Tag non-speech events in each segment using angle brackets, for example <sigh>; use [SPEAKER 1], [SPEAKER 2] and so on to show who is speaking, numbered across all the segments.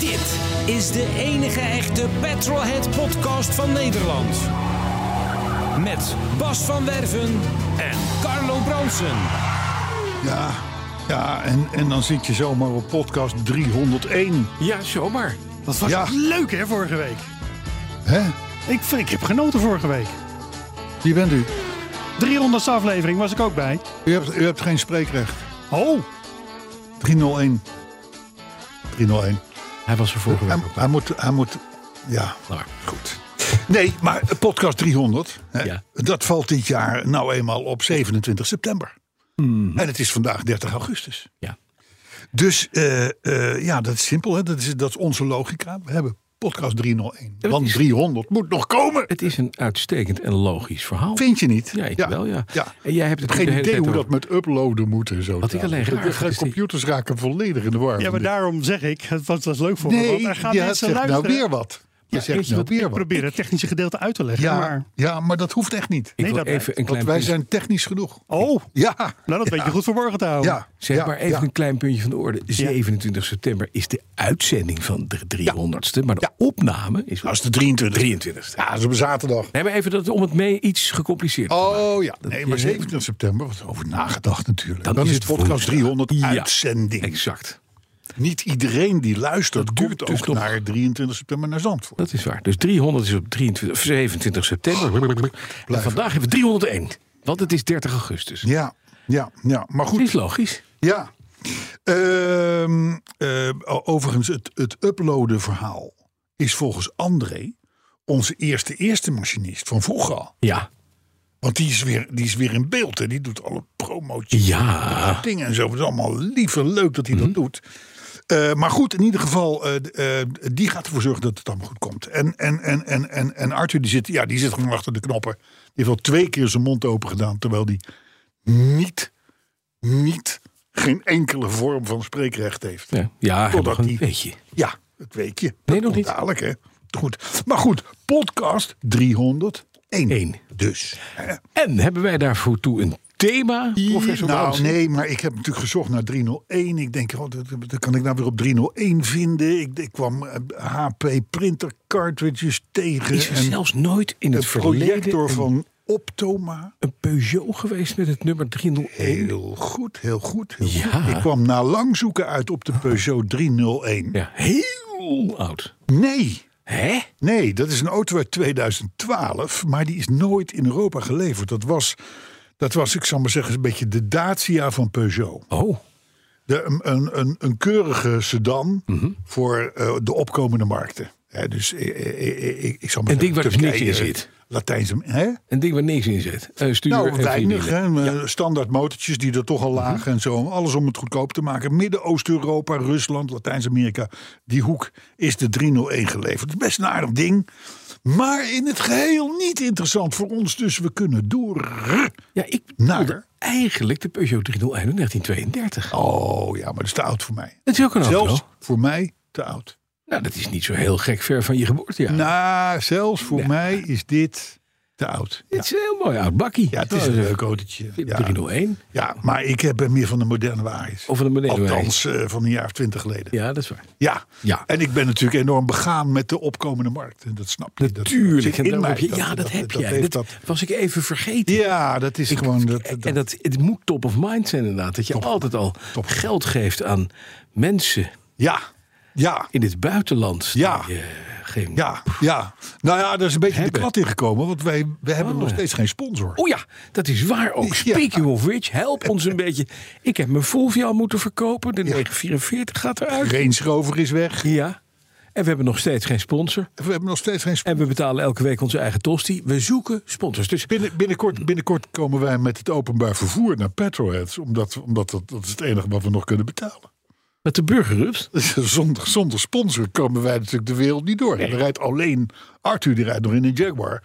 [SPEAKER 1] Dit is de enige echte Petrolhead podcast van Nederland. Met Bas van Werven en Carlo Bronsen.
[SPEAKER 2] Ja, ja en, en dan zit je zomaar op podcast 301.
[SPEAKER 3] Ja, zomaar.
[SPEAKER 4] Dat was
[SPEAKER 2] Ja.
[SPEAKER 4] leuk hè, vorige week.
[SPEAKER 2] Hè?
[SPEAKER 4] Ik, vind- ik heb genoten vorige week.
[SPEAKER 2] Wie bent u?
[SPEAKER 4] 300ste aflevering was ik ook bij.
[SPEAKER 2] U hebt, u hebt geen spreekrecht.
[SPEAKER 4] Oh,
[SPEAKER 2] 301. 301.
[SPEAKER 3] Hij was er vorige
[SPEAKER 2] Hij,
[SPEAKER 3] week ook. Nou.
[SPEAKER 2] hij moet, hij moet, ja.
[SPEAKER 3] Klaar. Goed.
[SPEAKER 2] Nee, maar eh, podcast 300, hè,
[SPEAKER 3] Ja.
[SPEAKER 2] dat valt dit jaar nou eenmaal op 27 september. En het is vandaag 30 augustus.
[SPEAKER 3] Mhm. Ja.
[SPEAKER 2] Dus eh, eh, ja, dat is simpel. Hè? Dat, is, dat is onze logica. We hebben podcast 301. Want 300 moet nog komen.
[SPEAKER 3] Het is een uitstekend en logisch verhaal.
[SPEAKER 2] Vind je niet?
[SPEAKER 3] Ja, ik wel, ja.
[SPEAKER 2] ja.
[SPEAKER 3] En jij hebt het
[SPEAKER 2] Geen
[SPEAKER 3] de hele
[SPEAKER 2] idee
[SPEAKER 3] tijd
[SPEAKER 2] hoe dat
[SPEAKER 3] over-
[SPEAKER 2] met uploaden moet en zo.
[SPEAKER 3] Wat ik alleen raar
[SPEAKER 2] De-
[SPEAKER 3] vind,
[SPEAKER 2] de
[SPEAKER 3] is die-
[SPEAKER 2] computers raken volledig in de war.
[SPEAKER 4] ja, maar daarom zeg ik, het was, was leuk voor me.
[SPEAKER 2] Nee,
[SPEAKER 4] Want er
[SPEAKER 2] je
[SPEAKER 4] gaan
[SPEAKER 2] zegt
[SPEAKER 4] mensen
[SPEAKER 2] nou
[SPEAKER 4] luisteren.
[SPEAKER 2] weer wat. Je
[SPEAKER 3] Ja, weet
[SPEAKER 2] zegt
[SPEAKER 3] je
[SPEAKER 2] nou
[SPEAKER 3] wat
[SPEAKER 2] weer
[SPEAKER 4] Ik
[SPEAKER 2] wat.
[SPEAKER 4] probeer het technische gedeelte uit te leggen.
[SPEAKER 2] Ja,
[SPEAKER 4] Maar,
[SPEAKER 2] ja, maar dat hoeft echt niet.
[SPEAKER 3] Ik
[SPEAKER 4] Nee,
[SPEAKER 3] wil
[SPEAKER 4] dat
[SPEAKER 3] even
[SPEAKER 4] blijft.
[SPEAKER 3] een klein
[SPEAKER 2] Want wij
[SPEAKER 3] puntje.
[SPEAKER 2] zijn technisch genoeg.
[SPEAKER 4] oh,
[SPEAKER 2] Ja,
[SPEAKER 4] nou dat weet je goed verborgen te houden.
[SPEAKER 2] ja.
[SPEAKER 3] Zeg
[SPEAKER 2] ja,
[SPEAKER 3] maar even
[SPEAKER 2] ja.
[SPEAKER 3] een klein puntje van de orde. 27 september is de uitzending van de 300ste. Maar de opname is...
[SPEAKER 2] Dat Nou, is de 23.
[SPEAKER 3] 23ste.
[SPEAKER 2] Ja, dat is op een zaterdag.
[SPEAKER 3] Nee, maar even dat, om het mee iets gecompliceerd te maken.
[SPEAKER 2] Oh ja, nee,
[SPEAKER 3] je
[SPEAKER 2] maar
[SPEAKER 3] heel-
[SPEAKER 2] 27 september wordt over nagedacht natuurlijk.
[SPEAKER 3] Dan
[SPEAKER 2] Dan,
[SPEAKER 3] is
[SPEAKER 2] is
[SPEAKER 3] het
[SPEAKER 2] podcast
[SPEAKER 3] woensdag.
[SPEAKER 2] 300
[SPEAKER 3] Ja,
[SPEAKER 2] uitzending.
[SPEAKER 3] Exact.
[SPEAKER 2] Niet iedereen die luistert
[SPEAKER 3] Dat
[SPEAKER 2] duurt
[SPEAKER 3] komt
[SPEAKER 2] ook
[SPEAKER 3] dus nog.
[SPEAKER 2] naar 23 september naar Zandvoort.
[SPEAKER 3] Dat is waar. Dus 300 is op 23, 27
[SPEAKER 2] Oh,
[SPEAKER 3] september. en vandaag hebben we 301. Want het is 30 augustus.
[SPEAKER 2] Ja, ja, ja. Maar goed,
[SPEAKER 3] Het is logisch.
[SPEAKER 2] Ja. Ehm, eh, o- overigens, het, het uploaden verhaal is volgens André onze eerste eerste machinist van vroeger.
[SPEAKER 3] Ja.
[SPEAKER 2] Want die is weer, die is weer in beeld en die doet alle promoties
[SPEAKER 3] Ja.
[SPEAKER 2] en dingen en zo. Het is allemaal lief en leuk dat hij
[SPEAKER 3] Mhm.
[SPEAKER 2] dat doet. Eh, maar goed, in ieder geval, eh, d- eh, die gaat ervoor zorgen dat het allemaal goed komt. En, en, en, en, en, en Arthur, die zit, ja, die zit gewoon achter de knoppen. Die heeft al twee keer zijn mond open gedaan, terwijl die niet, niet, geen enkele vorm van spreekrecht heeft.
[SPEAKER 3] Ja, ja
[SPEAKER 2] Totdat
[SPEAKER 3] gewoon,
[SPEAKER 2] die-
[SPEAKER 3] weet je.
[SPEAKER 2] Ja, het weet je.
[SPEAKER 3] nog
[SPEAKER 2] komt
[SPEAKER 3] niet.
[SPEAKER 2] Dadelijk, hè. Goed. Maar goed, podcast 301.
[SPEAKER 3] Eén.
[SPEAKER 2] Dus.
[SPEAKER 3] En hebben wij daarvoor toe een thema, professor
[SPEAKER 2] nou,
[SPEAKER 3] Bramsen?
[SPEAKER 2] nee, maar ik heb natuurlijk gezocht naar 301. Ik denk, oh, dat, dat kan ik nou weer op 301 vinden. Ik, ik kwam eh, HP printer cartridges tegen.
[SPEAKER 3] Is er
[SPEAKER 2] en
[SPEAKER 3] zelfs nooit in het
[SPEAKER 2] een
[SPEAKER 3] verleden
[SPEAKER 2] projector
[SPEAKER 3] een,
[SPEAKER 2] van Optoma.
[SPEAKER 3] een Peugeot geweest met het nummer 301?
[SPEAKER 2] Heel goed, heel goed. heel
[SPEAKER 3] Ja.
[SPEAKER 2] goed. Ik kwam na lang zoeken uit op de Peugeot 301.
[SPEAKER 3] Ja, heel oud.
[SPEAKER 2] Nee,
[SPEAKER 3] Hè?
[SPEAKER 2] Nee, dat is een auto uit 2012, maar die is nooit in Europa geleverd. Dat was, dat was ik zal maar zeggen, een beetje de Dacia van Peugeot.
[SPEAKER 3] Oh,
[SPEAKER 2] De, een, een, een, een keurige sedan
[SPEAKER 3] Mhm.
[SPEAKER 2] voor eh, de opkomende markten. Hè, dus eh, eh, eh, ik, ik zal maar
[SPEAKER 3] Een ding
[SPEAKER 2] zeggen,
[SPEAKER 3] waar dus
[SPEAKER 2] Turkije,
[SPEAKER 3] niks in zit.
[SPEAKER 2] Latijns, hè?
[SPEAKER 3] een ding waar niks in zit. Eh, stuur en Mhm.
[SPEAKER 2] Nou, weinig.
[SPEAKER 3] vierwielen.
[SPEAKER 2] Hè? Eh, Standaard motortjes die er toch al lagen en zo. Alles om het goedkoop te maken. Midden-Oost-Europa, Rusland, Latijns-Amerika. Die hoek is de 301 geleverd. Het is best een aardig ding. Maar in het geheel niet interessant voor ons. Dus we kunnen door.
[SPEAKER 3] Ja, ik
[SPEAKER 2] Naar-
[SPEAKER 3] bedoelde eigenlijk de Peugeot 301 uit 1932.
[SPEAKER 2] Oh ja, maar dat is te oud voor mij.
[SPEAKER 3] Dat is ook een auto.
[SPEAKER 2] Zelfs voor mij te oud.
[SPEAKER 3] Nou, dat is niet zo heel gek ver van je geboortejaar.
[SPEAKER 2] Nou, zelfs voor mij is dit te oud. Ja,
[SPEAKER 3] Het is een heel mooi oud bakkie.
[SPEAKER 2] Ja, het is een
[SPEAKER 3] Nou,
[SPEAKER 2] leuk autootje. Ja.
[SPEAKER 3] 301.
[SPEAKER 2] ja, maar ik heb eh, meer van de moderne waaiers.
[SPEAKER 3] Of van de moderne waaiers.
[SPEAKER 2] Althans, eh, van een jaar of twintig geleden.
[SPEAKER 3] Ja, dat is waar.
[SPEAKER 2] Ja.
[SPEAKER 3] Ja.
[SPEAKER 2] en ik ben natuurlijk enorm begaan met de opkomende markt. En dat snap je. Dat- dat
[SPEAKER 3] Tuurlijk.
[SPEAKER 2] zit
[SPEAKER 3] en
[SPEAKER 2] in
[SPEAKER 3] daarom
[SPEAKER 2] mij.
[SPEAKER 3] heb je- ja, dat, heb jij.
[SPEAKER 2] heeft
[SPEAKER 3] Dat,
[SPEAKER 2] dat-
[SPEAKER 3] was ik even vergeten.
[SPEAKER 2] ja, dat is gewoon... Dat, dat-
[SPEAKER 3] en dat, het moet top of mind zijn inderdaad. Dat je altijd al
[SPEAKER 2] Top.
[SPEAKER 3] geld geeft aan mensen
[SPEAKER 2] ja, ja,
[SPEAKER 3] in het buitenland. die,
[SPEAKER 2] Ja.
[SPEAKER 3] eh, geen...
[SPEAKER 2] ja, ja. Nou ja, daar is een beetje
[SPEAKER 3] Hebben.
[SPEAKER 2] de klat in gekomen. Want wij, we hebben nog steeds geen sponsor.
[SPEAKER 3] Oh ja, dat is waar ook.
[SPEAKER 2] Ja.
[SPEAKER 3] Speaking of which, help ons een beetje. Ik heb mijn Fulvia moeten verkopen. De 944 gaat eruit.
[SPEAKER 2] Range Rover is weg.
[SPEAKER 3] Ja. En we hebben nog steeds geen sponsor.
[SPEAKER 2] We hebben nog steeds geen
[SPEAKER 3] En we betalen elke week onze eigen tosti. We zoeken sponsors. Dus
[SPEAKER 2] Binnen, binnenkort, binnenkort komen wij met het openbaar vervoer naar Petrolheads. Omdat, omdat dat, dat is het enige wat we nog kunnen betalen. <laughs>
[SPEAKER 3] met de burgerrups.
[SPEAKER 2] Zonder, zonder sponsor komen wij natuurlijk de wereld niet door. Er rijdt alleen Arthur, die rijdt nog in een Jaguar.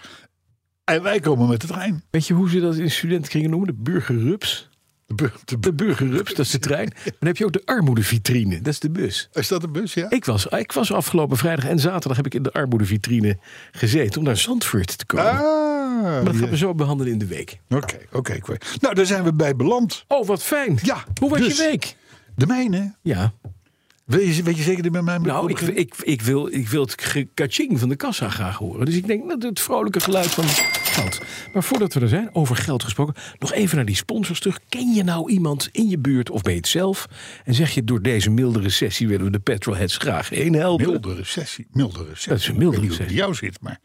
[SPEAKER 2] En wij komen met de trein.
[SPEAKER 3] Weet je hoe ze dat in studentenkringen noemen? De burgerrups.
[SPEAKER 2] De bur- de
[SPEAKER 3] De
[SPEAKER 2] bur-
[SPEAKER 3] burgerrups, dat is de
[SPEAKER 2] <laughs>
[SPEAKER 3] trein. Maar dan heb je ook de armoedevitrine. Dat is de bus.
[SPEAKER 2] is dat een bus? Ja.
[SPEAKER 3] Ik was, ik was afgelopen vrijdag en zaterdag heb ik in de armoedevitrine gezeten om naar Zandvoort te komen.
[SPEAKER 2] Ah,
[SPEAKER 3] maar dat
[SPEAKER 2] ja.
[SPEAKER 3] gaan we zo behandelen in de week.
[SPEAKER 2] Oké, oké. ik weet- Nou, daar zijn we bij beland.
[SPEAKER 3] Oh, wat fijn.
[SPEAKER 2] Ja,
[SPEAKER 3] Hoe was
[SPEAKER 2] dus-
[SPEAKER 3] je week?
[SPEAKER 2] De mijne.
[SPEAKER 3] Ja.
[SPEAKER 2] Weet je, weet je zeker dat je met mij moet
[SPEAKER 3] Nou, ik,
[SPEAKER 2] beginnen?
[SPEAKER 3] ik, ik, wil, ik wil het ge- kaching van de kassa graag horen. Dus ik denk dat het vrolijke geluid van geld. Maar voordat we er zijn, over geld gesproken, nog even naar die sponsors terug. Ken je nou iemand in je buurt of ben je het zelf? En zeg je, door deze milde recessie willen we de petrolheads graag heen helpen.
[SPEAKER 2] Milde recessie. Milde recessie.
[SPEAKER 3] Dat is een milde
[SPEAKER 2] ik weet niet hoe het bij
[SPEAKER 3] recessie. Nou
[SPEAKER 2] jou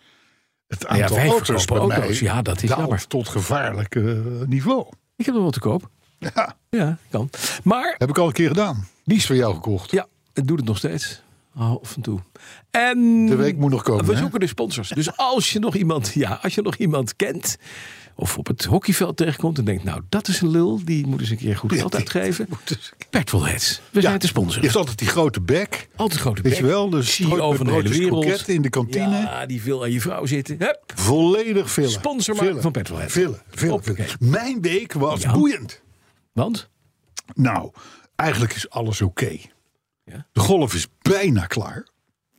[SPEAKER 2] zit, maar het
[SPEAKER 3] ja,
[SPEAKER 2] aantal
[SPEAKER 3] wij
[SPEAKER 2] auto's bij
[SPEAKER 3] verkopen
[SPEAKER 2] mij
[SPEAKER 3] auto's. Ja, dat is
[SPEAKER 2] daalt
[SPEAKER 3] jammer.
[SPEAKER 2] tot gevaarlijk eh, niveau.
[SPEAKER 3] Ik heb er wel te koop.
[SPEAKER 2] Ja,
[SPEAKER 3] Ja, kan. Maar
[SPEAKER 2] heb ik al een keer gedaan. Die is voor jou gekocht.
[SPEAKER 3] Ja, het doet het nog steeds. Af en toe. En
[SPEAKER 2] De week moet nog komen.
[SPEAKER 3] we
[SPEAKER 2] hè?
[SPEAKER 3] zoeken de sponsors. Dus als je nog iemand, ja, als je nog iemand kent. Of op het hockeyveld tegenkomt en denkt, nou, dat is een lul. Die moet eens een keer goed
[SPEAKER 2] Ja,
[SPEAKER 3] geld
[SPEAKER 2] die-
[SPEAKER 3] uitgeven.
[SPEAKER 2] <laughs> moet eens-
[SPEAKER 3] Petrolheads. We zijn de sponsor.
[SPEAKER 2] Je hebt altijd die grote bek.
[SPEAKER 3] Altijd grote
[SPEAKER 2] Weet je
[SPEAKER 3] bek.
[SPEAKER 2] wel, dus
[SPEAKER 3] CEO
[SPEAKER 2] brood-
[SPEAKER 3] van de hele
[SPEAKER 2] broodjes
[SPEAKER 3] wereld.
[SPEAKER 2] kroketten in de kantine.
[SPEAKER 3] Ja, die wil aan je vrouw zitten. Hup.
[SPEAKER 2] Volledig vullen.
[SPEAKER 3] Sponsor maken
[SPEAKER 2] Vullen.
[SPEAKER 3] van Petrolhead.
[SPEAKER 2] Vullen, vullen,
[SPEAKER 3] Hoppakee.
[SPEAKER 2] vullen. Mijn week was
[SPEAKER 3] Ja.
[SPEAKER 2] boeiend.
[SPEAKER 3] Want?
[SPEAKER 2] Nou, eigenlijk is alles oké.
[SPEAKER 3] Ja.
[SPEAKER 2] De golf is bijna klaar.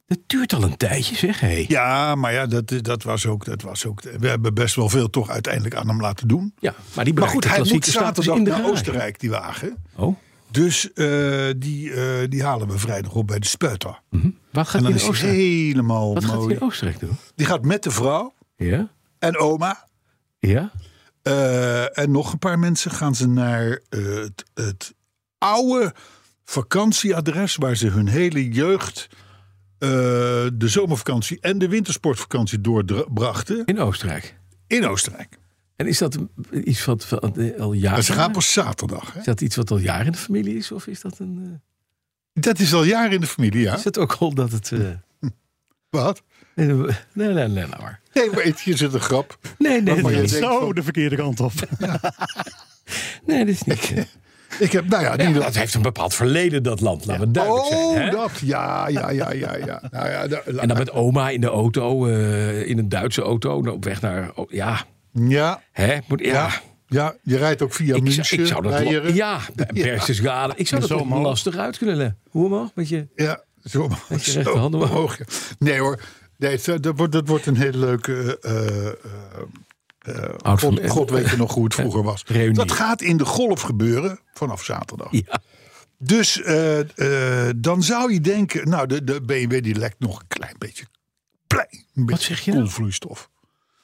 [SPEAKER 3] Het duurt al een tijdje, zeg. Hey.
[SPEAKER 2] Ja, maar ja, dat, dat, was ook, dat was ook. We hebben best wel veel toch uiteindelijk aan hem laten doen.
[SPEAKER 3] Ja, maar
[SPEAKER 2] Maar
[SPEAKER 3] die bereikt
[SPEAKER 2] goed,
[SPEAKER 3] de
[SPEAKER 2] hij moet
[SPEAKER 3] klassieke status
[SPEAKER 2] zaterdag
[SPEAKER 3] in de
[SPEAKER 2] naar
[SPEAKER 3] garage.
[SPEAKER 2] Oostenrijk, die wagen.
[SPEAKER 3] Oh,
[SPEAKER 2] Dus eh, die, eh, die halen we vrijdag op bij de Sputter.
[SPEAKER 3] mhm. wat gaat
[SPEAKER 2] En
[SPEAKER 3] hij
[SPEAKER 2] dan
[SPEAKER 3] in
[SPEAKER 2] is hij
[SPEAKER 3] Oostenrijk?
[SPEAKER 2] helemaal
[SPEAKER 3] Wat gaat hij
[SPEAKER 2] mooi.
[SPEAKER 3] in Oostenrijk doen?
[SPEAKER 2] Die gaat met de vrouw
[SPEAKER 3] Ja?
[SPEAKER 2] en oma.
[SPEAKER 3] Ja?
[SPEAKER 2] eh, en nog een paar mensen gaan ze naar eh, het, het oude vakantieadres waar ze hun hele jeugd eh, de zomervakantie en de wintersportvakantie doorbrachten
[SPEAKER 3] In Oostenrijk.
[SPEAKER 2] in Oostenrijk.
[SPEAKER 3] En is dat een- iets wat van- eh, al jaren...
[SPEAKER 2] En Nou, ze gaan pas zaterdag. Hè?
[SPEAKER 3] Is dat iets wat al jaren in de familie is? Of is dat een... eh,
[SPEAKER 2] Dat is al jaren in de familie, ja.
[SPEAKER 3] Is het ook al dat het... eh,
[SPEAKER 2] Wat?
[SPEAKER 3] nee, nee, nee, nee, nee, nou maar.
[SPEAKER 2] Nee, maar het- hier zit een grap.
[SPEAKER 3] Nee, nee,
[SPEAKER 4] <laughs>
[SPEAKER 2] Maar
[SPEAKER 3] nee,
[SPEAKER 2] je
[SPEAKER 3] nee.
[SPEAKER 2] denkt
[SPEAKER 4] Zo,
[SPEAKER 2] van-
[SPEAKER 4] de verkeerde kant
[SPEAKER 2] <laughs>
[SPEAKER 4] op.
[SPEAKER 3] Nee, dat is niet... eh,
[SPEAKER 2] Ik heb, nou ja, die
[SPEAKER 3] ja, dat heeft een bepaald verleden, dat land. Laten we duidelijk
[SPEAKER 2] Oh,
[SPEAKER 3] zijn. Hè?
[SPEAKER 2] dat. Ja, ja, ja, ja. ja. Nou ja, da- la-
[SPEAKER 3] En dan met oma in de auto, eh, in een Duitse auto, nou, op weg naar... oh, ja,
[SPEAKER 2] ja,
[SPEAKER 3] hè? Moet, ja.
[SPEAKER 2] ja, ja, je rijdt ook via
[SPEAKER 3] Ik, zou-
[SPEAKER 2] München.
[SPEAKER 3] ik zou dat... lo-
[SPEAKER 2] Beieren.
[SPEAKER 3] Ja, Berchtesgaden. Ik zou dat
[SPEAKER 4] Zo
[SPEAKER 3] toch
[SPEAKER 4] omhoog.
[SPEAKER 3] lastig uit kunnen leggen. Hoe omhoog? Met je...
[SPEAKER 2] Ja, zo omhoog.
[SPEAKER 3] Met je
[SPEAKER 2] zo
[SPEAKER 3] rechterhand omhoog.
[SPEAKER 2] omhoog, ja. Nee hoor, nee, het- eh, dat, wordt, dat wordt een hele leuke... eh, eh, eh,
[SPEAKER 3] Oud
[SPEAKER 2] God,
[SPEAKER 3] verleden.
[SPEAKER 2] God weet je nog hoe het vroeger was.
[SPEAKER 3] Reunie.
[SPEAKER 2] Dat gaat in de golf gebeuren vanaf zaterdag.
[SPEAKER 3] Ja.
[SPEAKER 2] Dus eh, eh, dan zou je denken, nou, de, de BMW die lekt nog een klein beetje, klein beetje
[SPEAKER 3] zeg je nou?
[SPEAKER 2] koelvloeistof.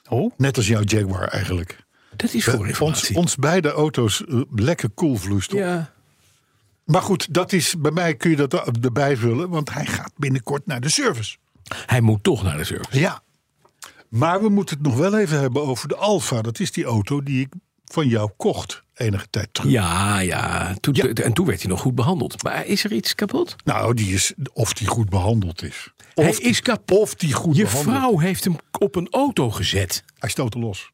[SPEAKER 4] Oh.
[SPEAKER 2] Net als jouw Jaguar eigenlijk. Eh,
[SPEAKER 3] Dat is voor
[SPEAKER 2] Ons,
[SPEAKER 3] informatie.
[SPEAKER 2] ons beide auto's eh, lekker koelvloeistof.
[SPEAKER 3] Ja.
[SPEAKER 2] Maar goed, dat is, bij mij kun je dat er- erbij vullen, want hij gaat binnenkort naar de service.
[SPEAKER 3] Hij moet toch naar de service.
[SPEAKER 2] Ja. Maar we moeten het nog wel even hebben over de Alfa. Dat is die auto die ik van jou kocht enige tijd terug.
[SPEAKER 3] Ja, ja. Toen,
[SPEAKER 2] Ja.
[SPEAKER 3] En toen werd hij nog goed behandeld. Maar is er iets kapot?
[SPEAKER 2] Nou, die is, of die goed behandeld is. Of,
[SPEAKER 3] hij is kapot.
[SPEAKER 2] of die goed
[SPEAKER 3] Je
[SPEAKER 2] behandeld
[SPEAKER 3] vrouw heeft hem op een auto gezet.
[SPEAKER 2] Hij stootte los.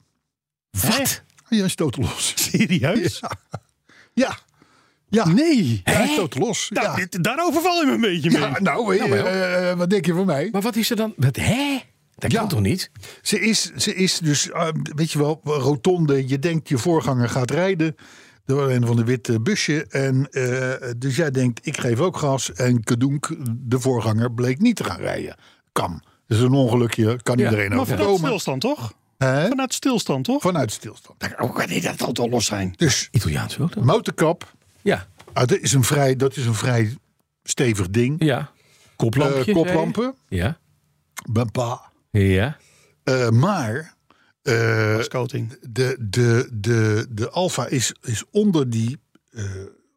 [SPEAKER 3] Wat?
[SPEAKER 2] Ja, hij stootte los.
[SPEAKER 4] Serieus?
[SPEAKER 2] Ja. Ja.
[SPEAKER 4] Nee.
[SPEAKER 2] Ja, hij stootte los.
[SPEAKER 4] Nou,
[SPEAKER 2] Ja.
[SPEAKER 4] dit- daar overval je me een beetje mee.
[SPEAKER 2] Ja, nou, eh, eh, wat denk je van mij?
[SPEAKER 3] Maar wat is er dan? Wat, hè? Dat
[SPEAKER 2] Ja.
[SPEAKER 3] kan toch niet?
[SPEAKER 2] Ze is, ze is dus, eh, weet je wel, rotonde. Je denkt je voorganger gaat rijden. Door een van de witte eh, busje. En, eh, dus jij denkt, ik geef ook gas. En kadoenk, de voorganger, bleek niet te gaan rijden. Kan. Dus een ongelukje, kan
[SPEAKER 3] Ja,
[SPEAKER 2] iedereen
[SPEAKER 4] Maar vanuit
[SPEAKER 2] overkomen.
[SPEAKER 4] stilstand, toch?
[SPEAKER 2] Hè?
[SPEAKER 4] Vanuit stilstand, toch?
[SPEAKER 2] Vanuit stilstand.
[SPEAKER 4] Hoe kan die dat auto los zijn?
[SPEAKER 2] Dus
[SPEAKER 3] Italiaans wel dan?
[SPEAKER 2] motorkap,
[SPEAKER 3] Ja.
[SPEAKER 2] ah, dat, is een vrij, dat is een vrij stevig ding.
[SPEAKER 3] Ja. Koplampjes.
[SPEAKER 2] Eh,
[SPEAKER 3] zei je?
[SPEAKER 2] koplampen,
[SPEAKER 3] Ja.
[SPEAKER 2] bampa.
[SPEAKER 3] Ja.
[SPEAKER 2] Eh, maar eh,
[SPEAKER 4] Coating.
[SPEAKER 2] de, de, de, de Alfa is, is onder, die, eh,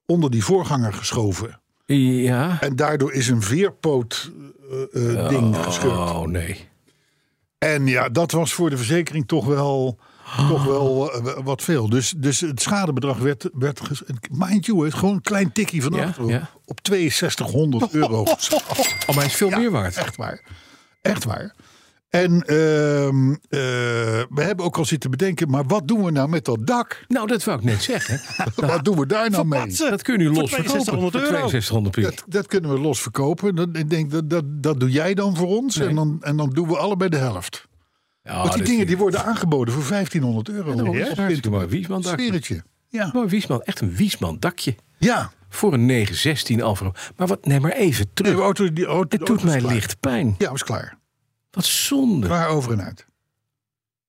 [SPEAKER 2] onder die voorganger geschoven.
[SPEAKER 3] Ja.
[SPEAKER 2] En daardoor is een veerpoot eh, eh, ding gescheurd.
[SPEAKER 3] Oh nee.
[SPEAKER 2] En ja, dat was voor de verzekering toch wel toch wel eh, w- wat veel. Dus, dus het schadebedrag werd, werd ges- mind you, het gewoon een klein tikkie van
[SPEAKER 3] Ja,
[SPEAKER 2] achteren
[SPEAKER 3] ja.
[SPEAKER 2] op 6200
[SPEAKER 3] <laughs>
[SPEAKER 2] euro. geschat.
[SPEAKER 3] Oh, maar hij is veel
[SPEAKER 2] Ja,
[SPEAKER 3] meer waard.
[SPEAKER 2] Echt waar. Echt waar. En ehm, eh, we hebben ook al zitten bedenken, maar wat doen we nou met dat
[SPEAKER 3] <laughs>
[SPEAKER 2] dak?
[SPEAKER 3] Nou, dat wou ik net
[SPEAKER 2] <laughs>
[SPEAKER 3] zeggen.
[SPEAKER 2] Wat doen we daar nou mee?
[SPEAKER 3] Dat kun je nu los
[SPEAKER 4] Voor
[SPEAKER 3] verkopen.
[SPEAKER 4] 6200 euro.
[SPEAKER 3] Voor 6200 piek.
[SPEAKER 2] Dat, dat kunnen we los verkopen. Dat, ik denk, dat, dat, dat doe jij dan voor ons. En, dan, en dan doen we allebei de
[SPEAKER 3] Ah,
[SPEAKER 2] helft.
[SPEAKER 3] Ja,
[SPEAKER 2] Want die
[SPEAKER 3] Oh, dat
[SPEAKER 2] dingen
[SPEAKER 3] vind
[SPEAKER 2] die
[SPEAKER 3] ik-
[SPEAKER 2] worden aangeboden voor 1500 euro.
[SPEAKER 3] daarom is het hartstikke mooi. Wiesman dakje.
[SPEAKER 2] Sfeertje. Ja.
[SPEAKER 3] Mooi Wiesman, echt een Wiesman dakje.
[SPEAKER 2] ja.
[SPEAKER 3] Voor een 916 Alfa. Maar wat, nee, maar even terug.
[SPEAKER 2] Nee, de auto, die auto, de
[SPEAKER 3] het doet
[SPEAKER 2] auto is
[SPEAKER 3] mij
[SPEAKER 2] klaar.
[SPEAKER 3] licht pijn.
[SPEAKER 2] Ja, was klaar.
[SPEAKER 3] Wat zonde.
[SPEAKER 2] Klaar over en uit.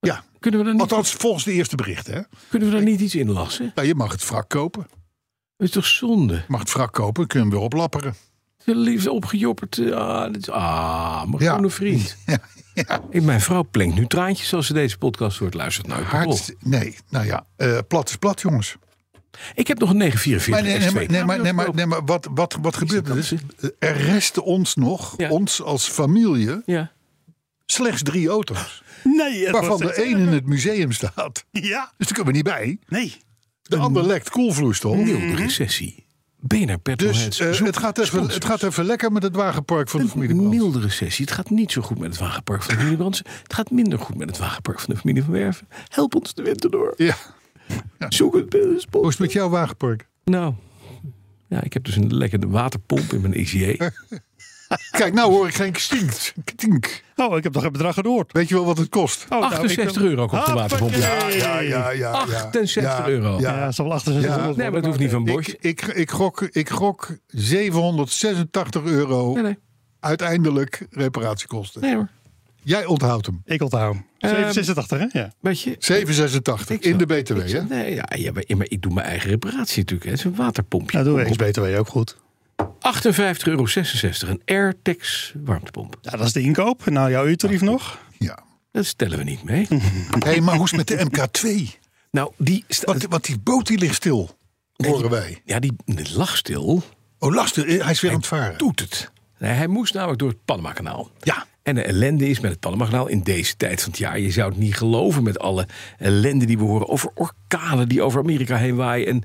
[SPEAKER 2] Ja,
[SPEAKER 3] Kunnen we daar niet,
[SPEAKER 2] althans volgens de eerste berichten. Hè?
[SPEAKER 3] kunnen we daar niet iets in lassen?
[SPEAKER 2] Nou, je mag het wrak kopen.
[SPEAKER 3] Dat is toch zonde?
[SPEAKER 2] Je mag het wrak kopen, kunnen we weer oplapperen.
[SPEAKER 3] De liefde opgejopperd. eh, Ah, dit is- ah
[SPEAKER 2] <laughs>
[SPEAKER 3] mijn
[SPEAKER 2] Ja.
[SPEAKER 3] gewone vriend. Ik, mijn vrouw plenkt nu traantjes als ze deze podcast hoort. Luistert nou.
[SPEAKER 2] Hard, nee, nou ja, eh, plat is plat, jongens.
[SPEAKER 3] Ik heb nog een
[SPEAKER 2] Maar
[SPEAKER 3] 944
[SPEAKER 2] nee, nee,
[SPEAKER 3] S2.
[SPEAKER 2] maar, nee, maar, nee, maar, nee, maar wat, wat, wat gebeurt er dus? Er resten ons nog,
[SPEAKER 3] Ja.
[SPEAKER 2] ons als familie,
[SPEAKER 3] Ja.
[SPEAKER 2] slechts drie auto's.
[SPEAKER 4] Nee, het
[SPEAKER 2] Waarvan
[SPEAKER 4] was
[SPEAKER 2] de
[SPEAKER 4] echt-
[SPEAKER 2] één in het museum staat. <laughs>
[SPEAKER 4] Ja,
[SPEAKER 2] Dus daar kunnen we niet bij.
[SPEAKER 4] nee.
[SPEAKER 2] De ander lekt koelvloeistof.
[SPEAKER 3] Milde recessie. BNR Petrolheads.
[SPEAKER 2] Dus eh,
[SPEAKER 3] zoekt
[SPEAKER 2] het, gaat even,
[SPEAKER 3] sponsors.
[SPEAKER 2] het gaat even lekker met het wagenpark Dus van de familie
[SPEAKER 3] Een
[SPEAKER 2] Brandt.
[SPEAKER 3] milde recessie. Het gaat niet zo goed met het wagenpark van de familie Brands. Het gaat minder goed met het wagenpark van de familie Van Werven. Help ons de winter door.
[SPEAKER 2] Ja.
[SPEAKER 3] Zoek het bij de
[SPEAKER 2] Hoe
[SPEAKER 3] sponsor.
[SPEAKER 2] is het met jouw wagenpark?
[SPEAKER 3] Nou, ja, ik heb dus een lekkere waterpomp in mijn
[SPEAKER 2] <laughs>
[SPEAKER 3] ICA.
[SPEAKER 2] Kijk, nou hoor ik geen stink. Tink.
[SPEAKER 4] Oh, ik heb nog een bedrag gehoord.
[SPEAKER 2] Weet je wel wat het kost?
[SPEAKER 4] Oh, nou, ik-
[SPEAKER 3] 68 euro op de waterpomp.
[SPEAKER 4] Hoppakee.
[SPEAKER 2] ja.
[SPEAKER 3] 68 euro.
[SPEAKER 4] Ja,
[SPEAKER 2] Ja,
[SPEAKER 4] dat zal wel 68
[SPEAKER 2] Ja.
[SPEAKER 3] Nee, maar dat hoeft niet van
[SPEAKER 2] Ik,
[SPEAKER 3] Bosch.
[SPEAKER 2] ik, ik, gok, ik gok 786 euro
[SPEAKER 3] Nee, nee,
[SPEAKER 2] uiteindelijk reparatiekosten.
[SPEAKER 3] nee hoor.
[SPEAKER 2] Jij onthoudt hem.
[SPEAKER 4] Ik onthoud hem.
[SPEAKER 3] Ehm,
[SPEAKER 4] 786, hè? Ja.
[SPEAKER 3] Weet je?
[SPEAKER 2] 786 in de BTW, hè?
[SPEAKER 3] Nee, ja, ja, maar, maar ik doe mijn eigen reparatie natuurlijk. hè. Het is een waterpompje.
[SPEAKER 4] Nou, doen we ex-BTW ook goed.
[SPEAKER 3] 58,66 euro. Een Airtex warmtepomp.
[SPEAKER 4] Ja, dat is de inkoop. Nou, jouw uurtarief nog.
[SPEAKER 2] Ja.
[SPEAKER 3] Dat stellen we niet mee.
[SPEAKER 2] Hé, maar hoe is het met de MK2?
[SPEAKER 3] nou, die, sta-
[SPEAKER 2] Want, want die boot die ligt stil, horen wij.
[SPEAKER 3] ja, die, die lag stil.
[SPEAKER 2] Oh, lastig. Hij is weer aan het varen.
[SPEAKER 3] Doet het. Nee, hij moest namelijk door het Panama-kanaal.
[SPEAKER 2] Ja.
[SPEAKER 3] En de ellende is met het Panama-kanaal in deze tijd van het jaar. Je zou het niet geloven met alle ellende die we horen over orkanen die over Amerika heen waaien. En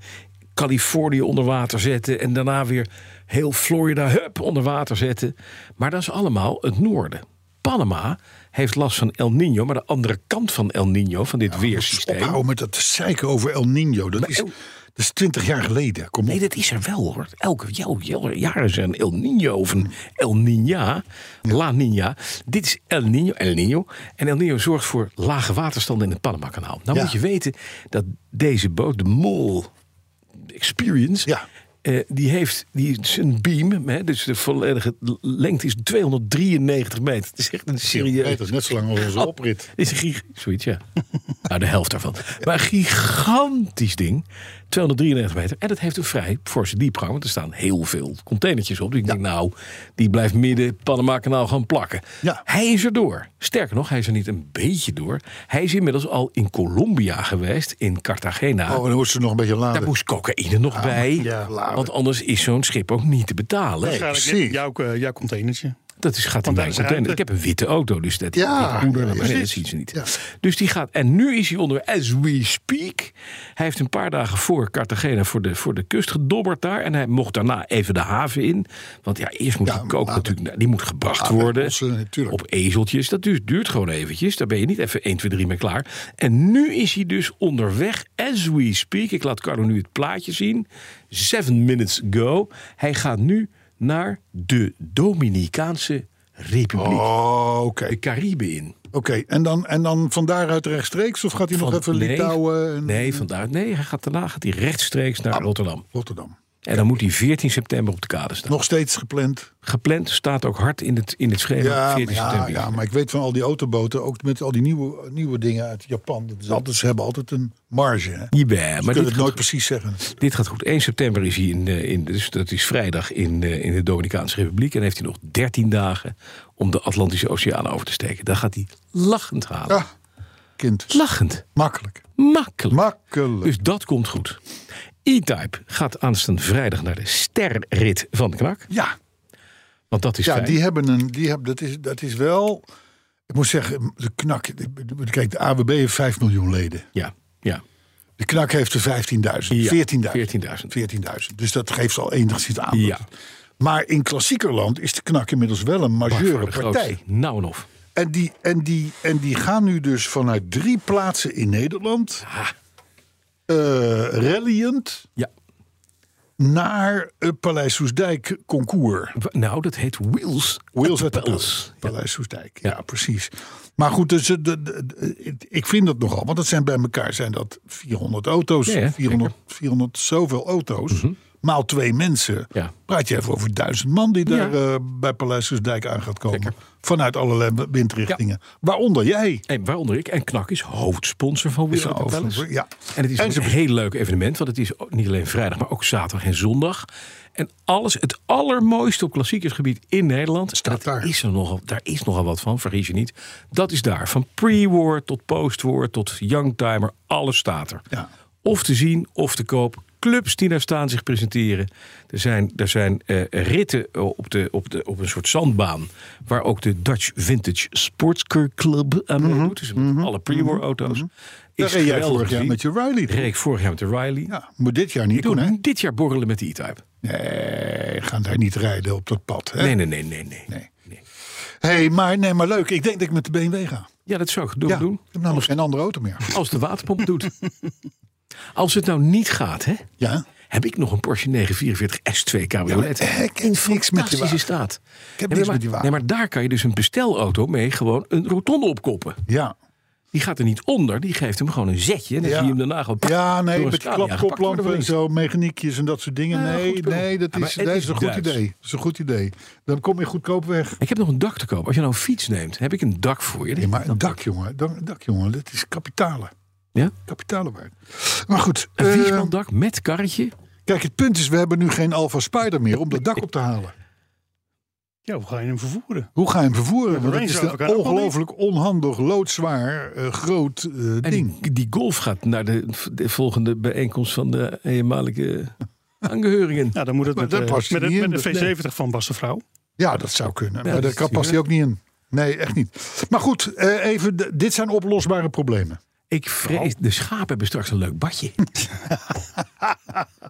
[SPEAKER 3] Californië onder water zetten. En daarna weer heel Florida hup, onder water zetten. Maar dat is allemaal het noorden. Panama heeft last van El Nino, maar de andere kant van El Nino, van dit weersysteem.
[SPEAKER 2] Ophouden met dat zeiken over El Nino. Dat is, dat is 20 jaar geleden. Kom
[SPEAKER 3] Nee,
[SPEAKER 2] op.
[SPEAKER 3] dat is er wel hoor. Elke jou- jou- jaar is er een El Niño of een El Niña. La Niña. Dit is El Niño. El Niño. En El Niño zorgt voor lage waterstanden in het Panama-kanaal. Nou
[SPEAKER 2] Ja.
[SPEAKER 3] moet je weten dat deze boot, de Mol Experience...
[SPEAKER 2] Ja.
[SPEAKER 3] eh, die heeft die is een beam, hè, dus de volledige lengte is 293 meter. Het is echt een serieus Oh.
[SPEAKER 2] Dat is net zo lang als onze oprit.
[SPEAKER 3] is een gig... Zoiets, ja. <laughs> nou, de helft daarvan. Maar een gigantisch ding. 293 meter. En dat heeft een vrij forse diepgang. Want er staan heel veel containertjes op. Dus ik denk, nou, die blijft midden Panama-kanaal gaan plakken.
[SPEAKER 2] Ja.
[SPEAKER 3] Hij is er door. Sterker nog, hij is er niet een beetje door. Hij is inmiddels al in Colombia geweest. In Cartagena.
[SPEAKER 2] Oh, dan moest ze nog een beetje
[SPEAKER 3] Daar
[SPEAKER 2] laden.
[SPEAKER 3] moest cocaïne nog bij.
[SPEAKER 2] ja, laden.
[SPEAKER 3] want anders is zo'n schip ook niet te betalen.
[SPEAKER 2] Nee.
[SPEAKER 4] Waarschijnlijk
[SPEAKER 2] precies.
[SPEAKER 4] net jouw, eh, jouw containertje.
[SPEAKER 3] Dat is, gaat
[SPEAKER 4] daar
[SPEAKER 3] in mijn
[SPEAKER 4] is
[SPEAKER 3] container. Ik
[SPEAKER 4] ruimte.
[SPEAKER 3] heb een witte auto, dus dat,
[SPEAKER 2] Ja,
[SPEAKER 3] die poeder,
[SPEAKER 2] ja,
[SPEAKER 3] nee,
[SPEAKER 2] precies.
[SPEAKER 3] dat zien ze niet.
[SPEAKER 2] Ja.
[SPEAKER 3] Dus die gaat, en nu is hij onder as we speak. Hij heeft een paar dagen voor Cartagena voor de, voor de kust gedobberd daar. En hij mocht daarna even de haven in. Want ja, eerst moet
[SPEAKER 2] Ja,
[SPEAKER 3] die kook
[SPEAKER 2] later.
[SPEAKER 3] natuurlijk, naar- die moet gebracht
[SPEAKER 2] Ja,
[SPEAKER 3] worden.
[SPEAKER 2] ons, eh, natuurlijk.
[SPEAKER 3] Op ezeltjes, dat duurt, duurt gewoon eventjes. Daar ben je niet even 1, 2, 3 mee klaar. En nu is hij dus onderweg, as we speak. Ik laat Carlo nu het plaatje zien. Seven minutes go. Hij gaat nu naar de Dominicaanse Republiek.
[SPEAKER 2] Oh, oké.
[SPEAKER 3] De Cariben in.
[SPEAKER 2] Oké, en, dan, en dan van daaruit rechtstreeks? Of gaat hij nog
[SPEAKER 3] Van-
[SPEAKER 2] even
[SPEAKER 3] nee.
[SPEAKER 2] Litouwen en
[SPEAKER 3] Nee, vandaar, nee hij gaat daarna gaat hij rechtstreeks
[SPEAKER 2] Ah.
[SPEAKER 3] naar Rotterdam.
[SPEAKER 2] Rotterdam?
[SPEAKER 3] En dan moet hij 14 september op de kade staan.
[SPEAKER 2] Nog steeds gepland.
[SPEAKER 3] Gepland staat ook hard in het, in het schema.
[SPEAKER 2] Ja, maar
[SPEAKER 3] 14
[SPEAKER 2] ja,
[SPEAKER 3] september.
[SPEAKER 2] ja, maar ik weet van al die autoboten, ook met al die nieuwe, nieuwe dingen uit Japan. Dat is altijd, ze hebben altijd een marge. Hè? Je
[SPEAKER 3] Jawel, maar
[SPEAKER 2] kunt
[SPEAKER 3] dit
[SPEAKER 2] het
[SPEAKER 3] gaat,
[SPEAKER 2] nooit precies zeggen.
[SPEAKER 3] dit gaat goed. 1 september is hij in, eh, in dus dat is vrijdag in, eh, in de Dominicaanse Republiek. En heeft hij nog 13 dagen om de Atlantische Oceaan over te steken. Daar gaat hij lachend halen.
[SPEAKER 2] Ah, kind.
[SPEAKER 3] Lachend.
[SPEAKER 2] Makkelijk.
[SPEAKER 3] Makkelijk.
[SPEAKER 2] Makkelijk.
[SPEAKER 3] Dus dat komt goed. E-Type gaat aanstaande vrijdag naar de sterrit van de knak.
[SPEAKER 2] Ja,
[SPEAKER 3] Want dat is
[SPEAKER 2] ja
[SPEAKER 3] fijn.
[SPEAKER 2] die hebben een. Die hebben, dat, is, dat is wel. Ik moet zeggen, de knak. de- Kijk, de AWB heeft 5 miljoen leden.
[SPEAKER 3] Ja, ja.
[SPEAKER 2] De knak heeft er 15.000.
[SPEAKER 3] Ja,
[SPEAKER 2] 14.000.
[SPEAKER 3] 14.000.
[SPEAKER 2] 14.000. Dus dat geeft al enigszins aan.
[SPEAKER 3] Ja.
[SPEAKER 2] Maar in klassiekerland is de knak inmiddels wel een
[SPEAKER 3] Voor
[SPEAKER 2] majeure
[SPEAKER 3] de
[SPEAKER 2] partij.
[SPEAKER 3] grootste. Nou en of.
[SPEAKER 2] En die, en, die, en die gaan nu dus vanuit drie plaatsen in Nederland. eh rallyend
[SPEAKER 3] Ah, Ja.
[SPEAKER 2] naar het Paleis Soesdijk concours.
[SPEAKER 3] W- Nou, dat heet Wheels.
[SPEAKER 2] Wheels
[SPEAKER 3] at
[SPEAKER 2] at
[SPEAKER 3] the
[SPEAKER 2] the
[SPEAKER 3] Palace.
[SPEAKER 2] Palace. Paleis Soestdijk.
[SPEAKER 3] Ja.
[SPEAKER 2] Ja, precies. Maar goed, dus, eh, de, de- de- ik vind dat nogal. Want dat zijn bij elkaar zijn dat 400 auto's.
[SPEAKER 3] Ja, ja,
[SPEAKER 2] 400, 400 zoveel auto's. Maal twee mensen.
[SPEAKER 3] Ja.
[SPEAKER 2] Praat je even over duizend man die daar eh, bij Paleis Soestdijk aan gaat komen. Vanuit allerlei windrichtingen. Waaronder jij.
[SPEAKER 3] En waaronder ik. En Knak is hoofdsponsor van Wheels
[SPEAKER 2] Is
[SPEAKER 3] at the
[SPEAKER 2] een
[SPEAKER 3] Palace.
[SPEAKER 2] hoofdsponsor, ja.
[SPEAKER 3] En het is
[SPEAKER 2] En
[SPEAKER 3] een
[SPEAKER 2] ze-
[SPEAKER 3] heel leuk evenement. Want het is ook niet alleen vrijdag, maar ook zaterdag en zondag. En alles, het allermooiste op klassiekersgebied in Nederland.
[SPEAKER 2] Staat
[SPEAKER 3] en dat
[SPEAKER 2] daar.
[SPEAKER 3] Is er nogal, daar is nogal wat van, vergis je niet. Dat is daar. Van pre-war tot post-war tot youngtimer. Alles staat er.
[SPEAKER 2] Ja.
[SPEAKER 3] Of te zien of te koop. Clubs die daar staan zich presenteren. Er zijn, er zijn eh, ritten op, de, op, de, op een soort zandbaan. Waar ook de Dutch Vintage Sportscar Club aan
[SPEAKER 2] Mhm.
[SPEAKER 3] meedoet. Dus met alle pre-war auto's.
[SPEAKER 2] Daar reed
[SPEAKER 3] Is
[SPEAKER 2] jij
[SPEAKER 3] geweldig
[SPEAKER 2] vorig
[SPEAKER 3] te
[SPEAKER 2] jaar
[SPEAKER 3] zien.
[SPEAKER 2] met je Riley. toch?
[SPEAKER 3] Reed ik vorig jaar met de Riley.
[SPEAKER 2] Ja, moet dit jaar niet
[SPEAKER 3] ik
[SPEAKER 2] doen, hè?
[SPEAKER 3] kon dit jaar borrelen met de E-Type.
[SPEAKER 2] Nee, gaan daar niet rijden op dat pad. Hè?
[SPEAKER 3] Nee, nee, nee, nee, nee.
[SPEAKER 2] Nee. Hey, maar, nee, maar leuk. Ik denk dat ik met de BMW ga.
[SPEAKER 3] Ja, dat zou ik doen.
[SPEAKER 2] Ja,
[SPEAKER 3] doen.
[SPEAKER 2] ik heb namelijk geen andere auto meer.
[SPEAKER 3] Als de
[SPEAKER 2] <laughs>
[SPEAKER 3] waterpomp doet. Als het nou niet gaat, hè?
[SPEAKER 2] Ja.
[SPEAKER 3] Heb ik nog een Porsche 944 S2 cabriolet.
[SPEAKER 2] Ja, maar ik heb
[SPEAKER 3] in
[SPEAKER 2] niks met die
[SPEAKER 3] fantastische
[SPEAKER 2] wagen.
[SPEAKER 3] staat. Ik
[SPEAKER 2] heb
[SPEAKER 3] nee,
[SPEAKER 2] niks
[SPEAKER 3] maar,
[SPEAKER 2] met die wagen.
[SPEAKER 3] Nee, maar daar kan je dus een bestelauto mee gewoon een rotonde opkoppen.
[SPEAKER 2] Ja.
[SPEAKER 3] Die gaat er niet onder, die geeft hem gewoon een zetje. En dan
[SPEAKER 2] Ja.
[SPEAKER 3] zie je hem daarna gewoon...
[SPEAKER 2] Ja,
[SPEAKER 3] door
[SPEAKER 2] nee,
[SPEAKER 3] een
[SPEAKER 2] met
[SPEAKER 3] Scania gepakt worden
[SPEAKER 2] klapkoplampen
[SPEAKER 3] van
[SPEAKER 2] en
[SPEAKER 3] links.
[SPEAKER 2] zo, mechaniekjes en dat soort dingen.
[SPEAKER 3] Ja,
[SPEAKER 2] nee,
[SPEAKER 3] goed spul.
[SPEAKER 2] nee, dat
[SPEAKER 3] Ja, maar
[SPEAKER 2] is,
[SPEAKER 3] het
[SPEAKER 2] nee,
[SPEAKER 3] is
[SPEAKER 2] dat is een goed
[SPEAKER 3] Duits.
[SPEAKER 2] idee. Dat is een goed idee. Dan kom je goedkoop weg.
[SPEAKER 3] Ik heb nog een dak te koop. Als je nou een fiets neemt, heb ik een dak voor je.
[SPEAKER 2] Nee, maar een dak, jongen. Dan, een dak, jongen. Dat is kapitalen.
[SPEAKER 3] Ja?
[SPEAKER 2] Kapitalen waard. Maar goed.
[SPEAKER 3] Een
[SPEAKER 2] eh,
[SPEAKER 3] Viesman-dak met karretje.
[SPEAKER 2] kijk, het punt is, we hebben nu geen Alfa Spider meer om dat dak op te halen.
[SPEAKER 4] Ja, hoe ga je hem vervoeren?
[SPEAKER 2] Hoe ga je hem vervoeren? Want
[SPEAKER 4] Range
[SPEAKER 2] het is
[SPEAKER 4] Rover kan ook
[SPEAKER 2] een
[SPEAKER 4] wel niet.
[SPEAKER 2] ongelooflijk onhandig, loodzwaar, eh, groot eh,
[SPEAKER 3] En
[SPEAKER 2] ding.
[SPEAKER 3] die, die golf gaat naar de, de volgende bijeenkomst van de
[SPEAKER 2] <laughs>
[SPEAKER 3] eenmalige aangeheuringen.
[SPEAKER 4] Ja, dan moet het
[SPEAKER 2] Maar
[SPEAKER 4] met,
[SPEAKER 2] dat
[SPEAKER 4] eh,
[SPEAKER 2] past
[SPEAKER 4] met,
[SPEAKER 2] niet
[SPEAKER 4] het-
[SPEAKER 2] in,
[SPEAKER 4] met de
[SPEAKER 2] dus
[SPEAKER 4] V70 van Bas de Vrouw.
[SPEAKER 2] Ja, dat zou kunnen. maar
[SPEAKER 3] dat
[SPEAKER 2] daar
[SPEAKER 3] is
[SPEAKER 2] kan- past hij ook niet in. Nee, echt niet. Maar goed, eh, even, de- dit zijn oplosbare problemen.
[SPEAKER 3] Ik vrees, de schapen hebben straks een leuk badje.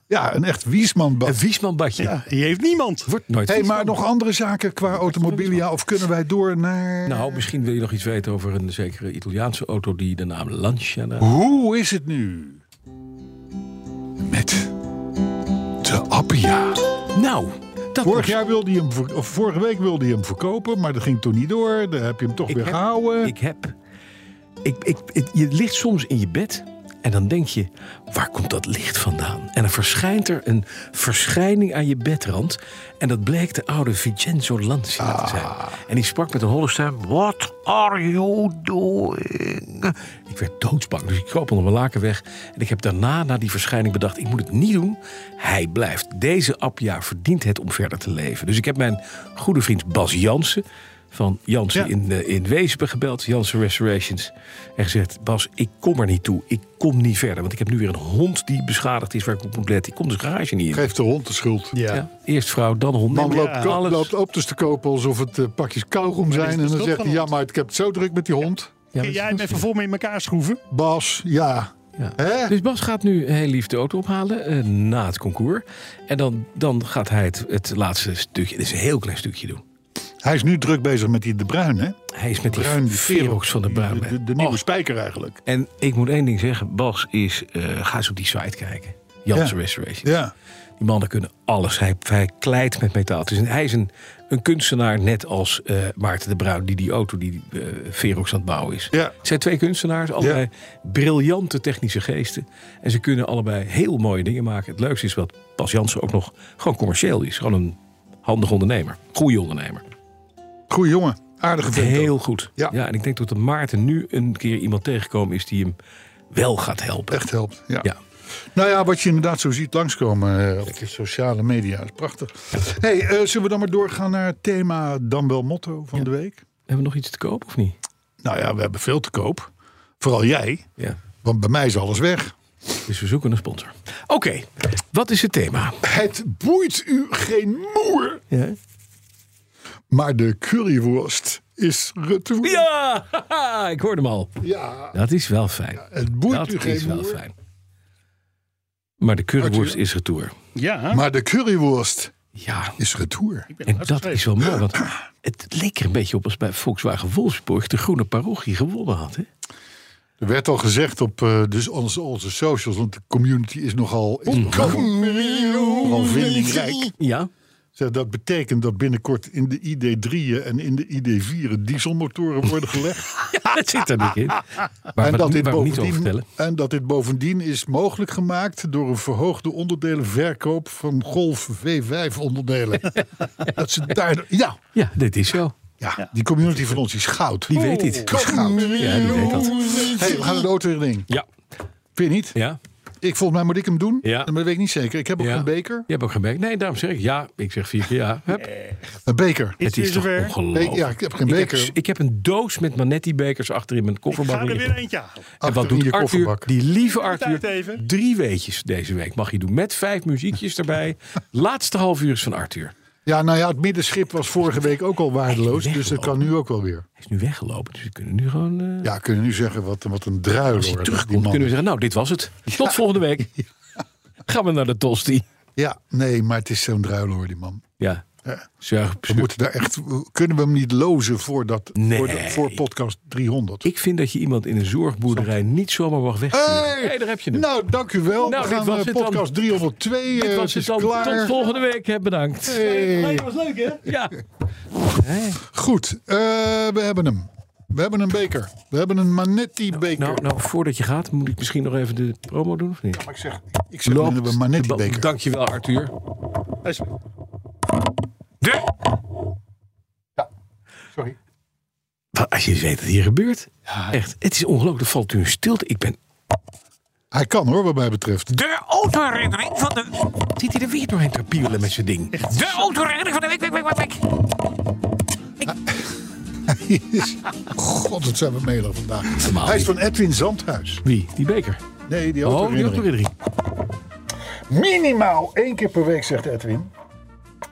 [SPEAKER 2] Ja, een echt wiesman
[SPEAKER 3] Een Wiesman-badje.
[SPEAKER 4] Ja, die heeft niemand.
[SPEAKER 3] Wordt nooit
[SPEAKER 2] Hey, maar
[SPEAKER 3] Wiesman.
[SPEAKER 2] nog andere zaken qua automobilia? Of kunnen wij door naar...
[SPEAKER 3] Nou, misschien wil je nog iets weten over een zekere Italiaanse auto die de naam Lancia...
[SPEAKER 2] Hoe is het nu? Met de Appia.
[SPEAKER 3] Nou, dat
[SPEAKER 2] Vorig
[SPEAKER 3] was-
[SPEAKER 2] jaar wilde hij hem, ver- of vorige week wilde hij hem verkopen, maar dat ging toen niet door. Daar heb je hem toch
[SPEAKER 3] Ik
[SPEAKER 2] weer
[SPEAKER 3] heb-
[SPEAKER 2] gehouden.
[SPEAKER 3] Ik heb... Ik, ik, het- je ligt soms in je bed en dan denk je... waar komt dat licht vandaan? En dan verschijnt er een verschijning aan je bedrand. En dat bleek de oude Vincenzo Lancia
[SPEAKER 2] Ah.
[SPEAKER 3] te zijn. En die sprak met een holle stem... What are you doing? Ik werd doodsbang, dus ik kroop onder mijn laken weg. En ik heb daarna, na die verschijning, bedacht... ik moet het niet doen. Hij blijft. Deze Appia verdient het om verder te leven. Dus ik heb mijn goede vriend Bas Jansen... van Jansen
[SPEAKER 2] Ja.
[SPEAKER 3] in in, eh, in Weespen gebeld, Janssen Restorations. En gezegd, Bas, ik kom er niet toe. Ik kom niet verder. Want ik heb nu weer een hond die beschadigd is waar ik op moet letten. Ik kom de garage niet in.
[SPEAKER 2] Geef de hond de schuld.
[SPEAKER 4] Ja.
[SPEAKER 3] Ja, eerst vrouw, dan hond.
[SPEAKER 2] Man
[SPEAKER 3] Nee, maar
[SPEAKER 2] loopt, ko-
[SPEAKER 3] alles.
[SPEAKER 2] loopt optus te kopen alsof het eh, pakjes kauwgom
[SPEAKER 4] is
[SPEAKER 2] zijn.
[SPEAKER 4] de
[SPEAKER 2] En dan
[SPEAKER 4] schuld
[SPEAKER 2] zegt
[SPEAKER 4] van
[SPEAKER 2] hij, ja,
[SPEAKER 4] ons.
[SPEAKER 2] maar ik heb het zo druk met die hond.
[SPEAKER 3] Ja,
[SPEAKER 4] Kun
[SPEAKER 3] dat
[SPEAKER 4] jij
[SPEAKER 3] is- dus-
[SPEAKER 4] hem even vol mee in elkaar schroeven?
[SPEAKER 2] Bas, ja.
[SPEAKER 3] ja.
[SPEAKER 2] Hè?
[SPEAKER 3] Dus Bas gaat nu heel lief de auto ophalen eh, na het concours. En dan, dan gaat hij het, het laatste stukje, het is een heel klein stukje doen.
[SPEAKER 2] Hij is nu druk bezig met die De Bruin, hè?
[SPEAKER 3] Hij is met die
[SPEAKER 2] Bruin, die
[SPEAKER 3] Verox van de Bruin.
[SPEAKER 2] De, de, de nieuwe spijker eigenlijk.
[SPEAKER 3] En ik moet één ding zeggen, Bas is, eh, ga eens op die site kijken. Janssen
[SPEAKER 2] Ja.
[SPEAKER 3] Restorations.
[SPEAKER 2] Ja.
[SPEAKER 3] Die mannen kunnen alles. Hij, hij kleit met metaal. Het is een, hij is een, een kunstenaar, net als eh, Maarten de Bruin, die die auto die eh Verox aan het bouwen is.
[SPEAKER 2] Ja.
[SPEAKER 3] Het zijn twee kunstenaars, allebei briljante technische geesten. En ze kunnen allebei heel mooie dingen maken. Het leukste is wat Bas Jansen ook nog gewoon commercieel is. Gewoon een handig ondernemer. Goeie ondernemer.
[SPEAKER 2] Goeie jongen. Aardige vent. ook.
[SPEAKER 3] Heel goed.
[SPEAKER 2] Ja.
[SPEAKER 3] en ik denk dat de Maarten nu een keer iemand tegengekomen is die hem wel gaat helpen.
[SPEAKER 2] Echt helpt. Ja.
[SPEAKER 3] Ja.
[SPEAKER 2] Nou ja, wat je inderdaad zo ziet langskomen eh, op de sociale media is prachtig. hey, eh, zullen we dan maar doorgaan naar het thema dan wel motto van de week?
[SPEAKER 3] Hebben we nog iets te koop of niet?
[SPEAKER 2] Nou ja, we hebben veel te koop. Vooral jij,
[SPEAKER 3] Ja.
[SPEAKER 2] want bij mij is alles weg.
[SPEAKER 3] Dus we zoeken een sponsor. Oké, wat is het thema?
[SPEAKER 2] Het boeit u geen moer, maar de currywurst is retour.
[SPEAKER 3] Ja, haha, ik hoorde hem al.
[SPEAKER 2] Ja,
[SPEAKER 3] Dat is wel fijn.
[SPEAKER 2] het boeit
[SPEAKER 3] dat
[SPEAKER 2] u
[SPEAKER 3] is
[SPEAKER 2] geen
[SPEAKER 3] wel
[SPEAKER 2] moer,
[SPEAKER 3] fijn. Maar de curryworst
[SPEAKER 2] Arthur?
[SPEAKER 3] is retour.
[SPEAKER 4] Ja,
[SPEAKER 2] Maar de currywurst
[SPEAKER 3] Ja,
[SPEAKER 2] is retour.
[SPEAKER 4] ik ben
[SPEAKER 3] en dat
[SPEAKER 4] hartstikke
[SPEAKER 3] is wel mooi. Want het leek er een beetje op als bij Volkswagen Wolfsburg de groene parochie gewonnen had. Hè?
[SPEAKER 2] Er werd al gezegd op eh, dus onze, onze socials, want de community is nogal, is nogal, nogal vindingrijk.
[SPEAKER 3] Ja,
[SPEAKER 2] Zeg, dat betekent dat binnenkort in de ID3 en in de ID4 dieselmotoren worden gelegd.
[SPEAKER 3] dat zit er niet in. <laughs> Waar we,
[SPEAKER 2] en,
[SPEAKER 3] het-
[SPEAKER 2] dat dit
[SPEAKER 3] waar we niet over
[SPEAKER 2] bovendien,
[SPEAKER 3] vertellen.
[SPEAKER 2] en dat dit bovendien is mogelijk gemaakt door een verhoogde onderdelenverkoop van Golf V5 onderdelen.
[SPEAKER 3] <laughs>
[SPEAKER 2] dat ze daar, ja,
[SPEAKER 3] Ja, dit is zo.
[SPEAKER 2] ja, die community van ons is goud.
[SPEAKER 3] Die weet dit.
[SPEAKER 2] is goud.
[SPEAKER 3] Ja, die weet dat.
[SPEAKER 2] Hey, we gaan de auto in ding.
[SPEAKER 3] Ja,
[SPEAKER 2] Vind je niet?
[SPEAKER 3] ja.
[SPEAKER 2] Ik, volgens mij moet ik hem doen.
[SPEAKER 3] Ja.
[SPEAKER 2] Maar dat weet ik niet zeker. Ik heb ook
[SPEAKER 3] Ja.
[SPEAKER 2] een beker.
[SPEAKER 3] Je hebt ook gemerkt. Nee, daarom zeg ik ja. Ik zeg vier keer ja. Hup.
[SPEAKER 2] Een beker.
[SPEAKER 4] is
[SPEAKER 3] Het is
[SPEAKER 4] weer
[SPEAKER 3] toch
[SPEAKER 4] zover.
[SPEAKER 3] ongelooflijk.
[SPEAKER 2] Nee, ja, ik heb geen
[SPEAKER 3] Ik
[SPEAKER 2] beker.
[SPEAKER 3] heb, ik heb een doos met Manetti-bekers achter in mijn
[SPEAKER 4] Ik
[SPEAKER 3] kofferbak.
[SPEAKER 4] ga er
[SPEAKER 3] liggen.
[SPEAKER 4] weer eentje halen.
[SPEAKER 3] En wat
[SPEAKER 2] Achter in
[SPEAKER 3] doet
[SPEAKER 2] je
[SPEAKER 3] Arthur?
[SPEAKER 2] kofferbak.
[SPEAKER 3] Die lieve
[SPEAKER 4] Tijd
[SPEAKER 3] Arthur.
[SPEAKER 4] even.
[SPEAKER 3] Drie weetjes deze week mag je doen. Met vijf muziekjes
[SPEAKER 2] <laughs>
[SPEAKER 3] erbij. Laatste half uur is van Arthur.
[SPEAKER 2] Ja, nou ja, het middenschip was vorige week ook al waardeloos.
[SPEAKER 3] Hij is
[SPEAKER 2] Dus dat kan nu ook wel weer.
[SPEAKER 3] Hij is nu weggelopen, dus we kunnen nu gewoon... eh,
[SPEAKER 2] Ja, kunnen we nu zeggen wat, wat een druil
[SPEAKER 3] als hij
[SPEAKER 2] hoor,
[SPEAKER 3] terugkomt,
[SPEAKER 2] die man.
[SPEAKER 3] kunnen we zeggen, nou, dit
[SPEAKER 2] <laughs>
[SPEAKER 3] was het. Tot volgende week. Gaan we naar de Tosti.
[SPEAKER 2] Ja, nee, maar het is zo'n druil hoor, die man.
[SPEAKER 3] Ja.
[SPEAKER 2] Ja.
[SPEAKER 3] Zuig-
[SPEAKER 2] We moeten daar echt, kunnen we hem niet lozen voordat,
[SPEAKER 3] Nee.
[SPEAKER 2] voor, dat- voor podcast 300?
[SPEAKER 3] Ik vind dat je iemand in een zorgboerderij niet zomaar mag wegsturen.
[SPEAKER 2] Hey!
[SPEAKER 3] Hey, daar heb je hem.
[SPEAKER 2] Nou, dank u wel.
[SPEAKER 3] Nou,
[SPEAKER 2] we
[SPEAKER 3] dit
[SPEAKER 2] gaan
[SPEAKER 3] was
[SPEAKER 2] eh,
[SPEAKER 3] het dan.
[SPEAKER 2] podcast 302. eh,
[SPEAKER 3] dit was
[SPEAKER 2] het
[SPEAKER 3] het
[SPEAKER 2] is
[SPEAKER 3] dan.
[SPEAKER 2] klaar.
[SPEAKER 3] Tot volgende week. hè, Bedankt.
[SPEAKER 2] Hey.
[SPEAKER 4] was leuk, hè?
[SPEAKER 3] Ja.
[SPEAKER 2] Goed, eh, we hebben hem. We hebben een beker. We hebben een Manetti-beker.
[SPEAKER 3] Nou, nou, voordat je gaat, moet ik misschien nog even de promo doen, of niet?
[SPEAKER 2] Maar ik zeg, ik zeg
[SPEAKER 3] Loopt
[SPEAKER 2] we hebben een Manetti-beker.
[SPEAKER 3] de- Dankjewel, Arthur.
[SPEAKER 4] Hij is-
[SPEAKER 3] De...
[SPEAKER 2] Sorry.
[SPEAKER 3] Wat, Als je eens weet wat hier gebeurt. Echt, het is ongelooflijk. Er valt nu een stilte. Ik ben
[SPEAKER 2] Hij kan hoor, wat mij betreft.
[SPEAKER 3] de autoherinnering van de... Zit hij er weer doorheen te pielen met zijn ding? De autoherinnering van de week, week, week, week, week.
[SPEAKER 2] God, wat zijn we melig vandaag.
[SPEAKER 3] Normaal
[SPEAKER 2] Hij is
[SPEAKER 3] niet.
[SPEAKER 2] van Edwin Zandhuis.
[SPEAKER 3] Wie? Die beker.
[SPEAKER 2] Nee, die
[SPEAKER 3] Oh, die
[SPEAKER 2] autoherinnering.
[SPEAKER 3] autoherinnering.
[SPEAKER 2] Minimaal één keer per week, zegt Edwin,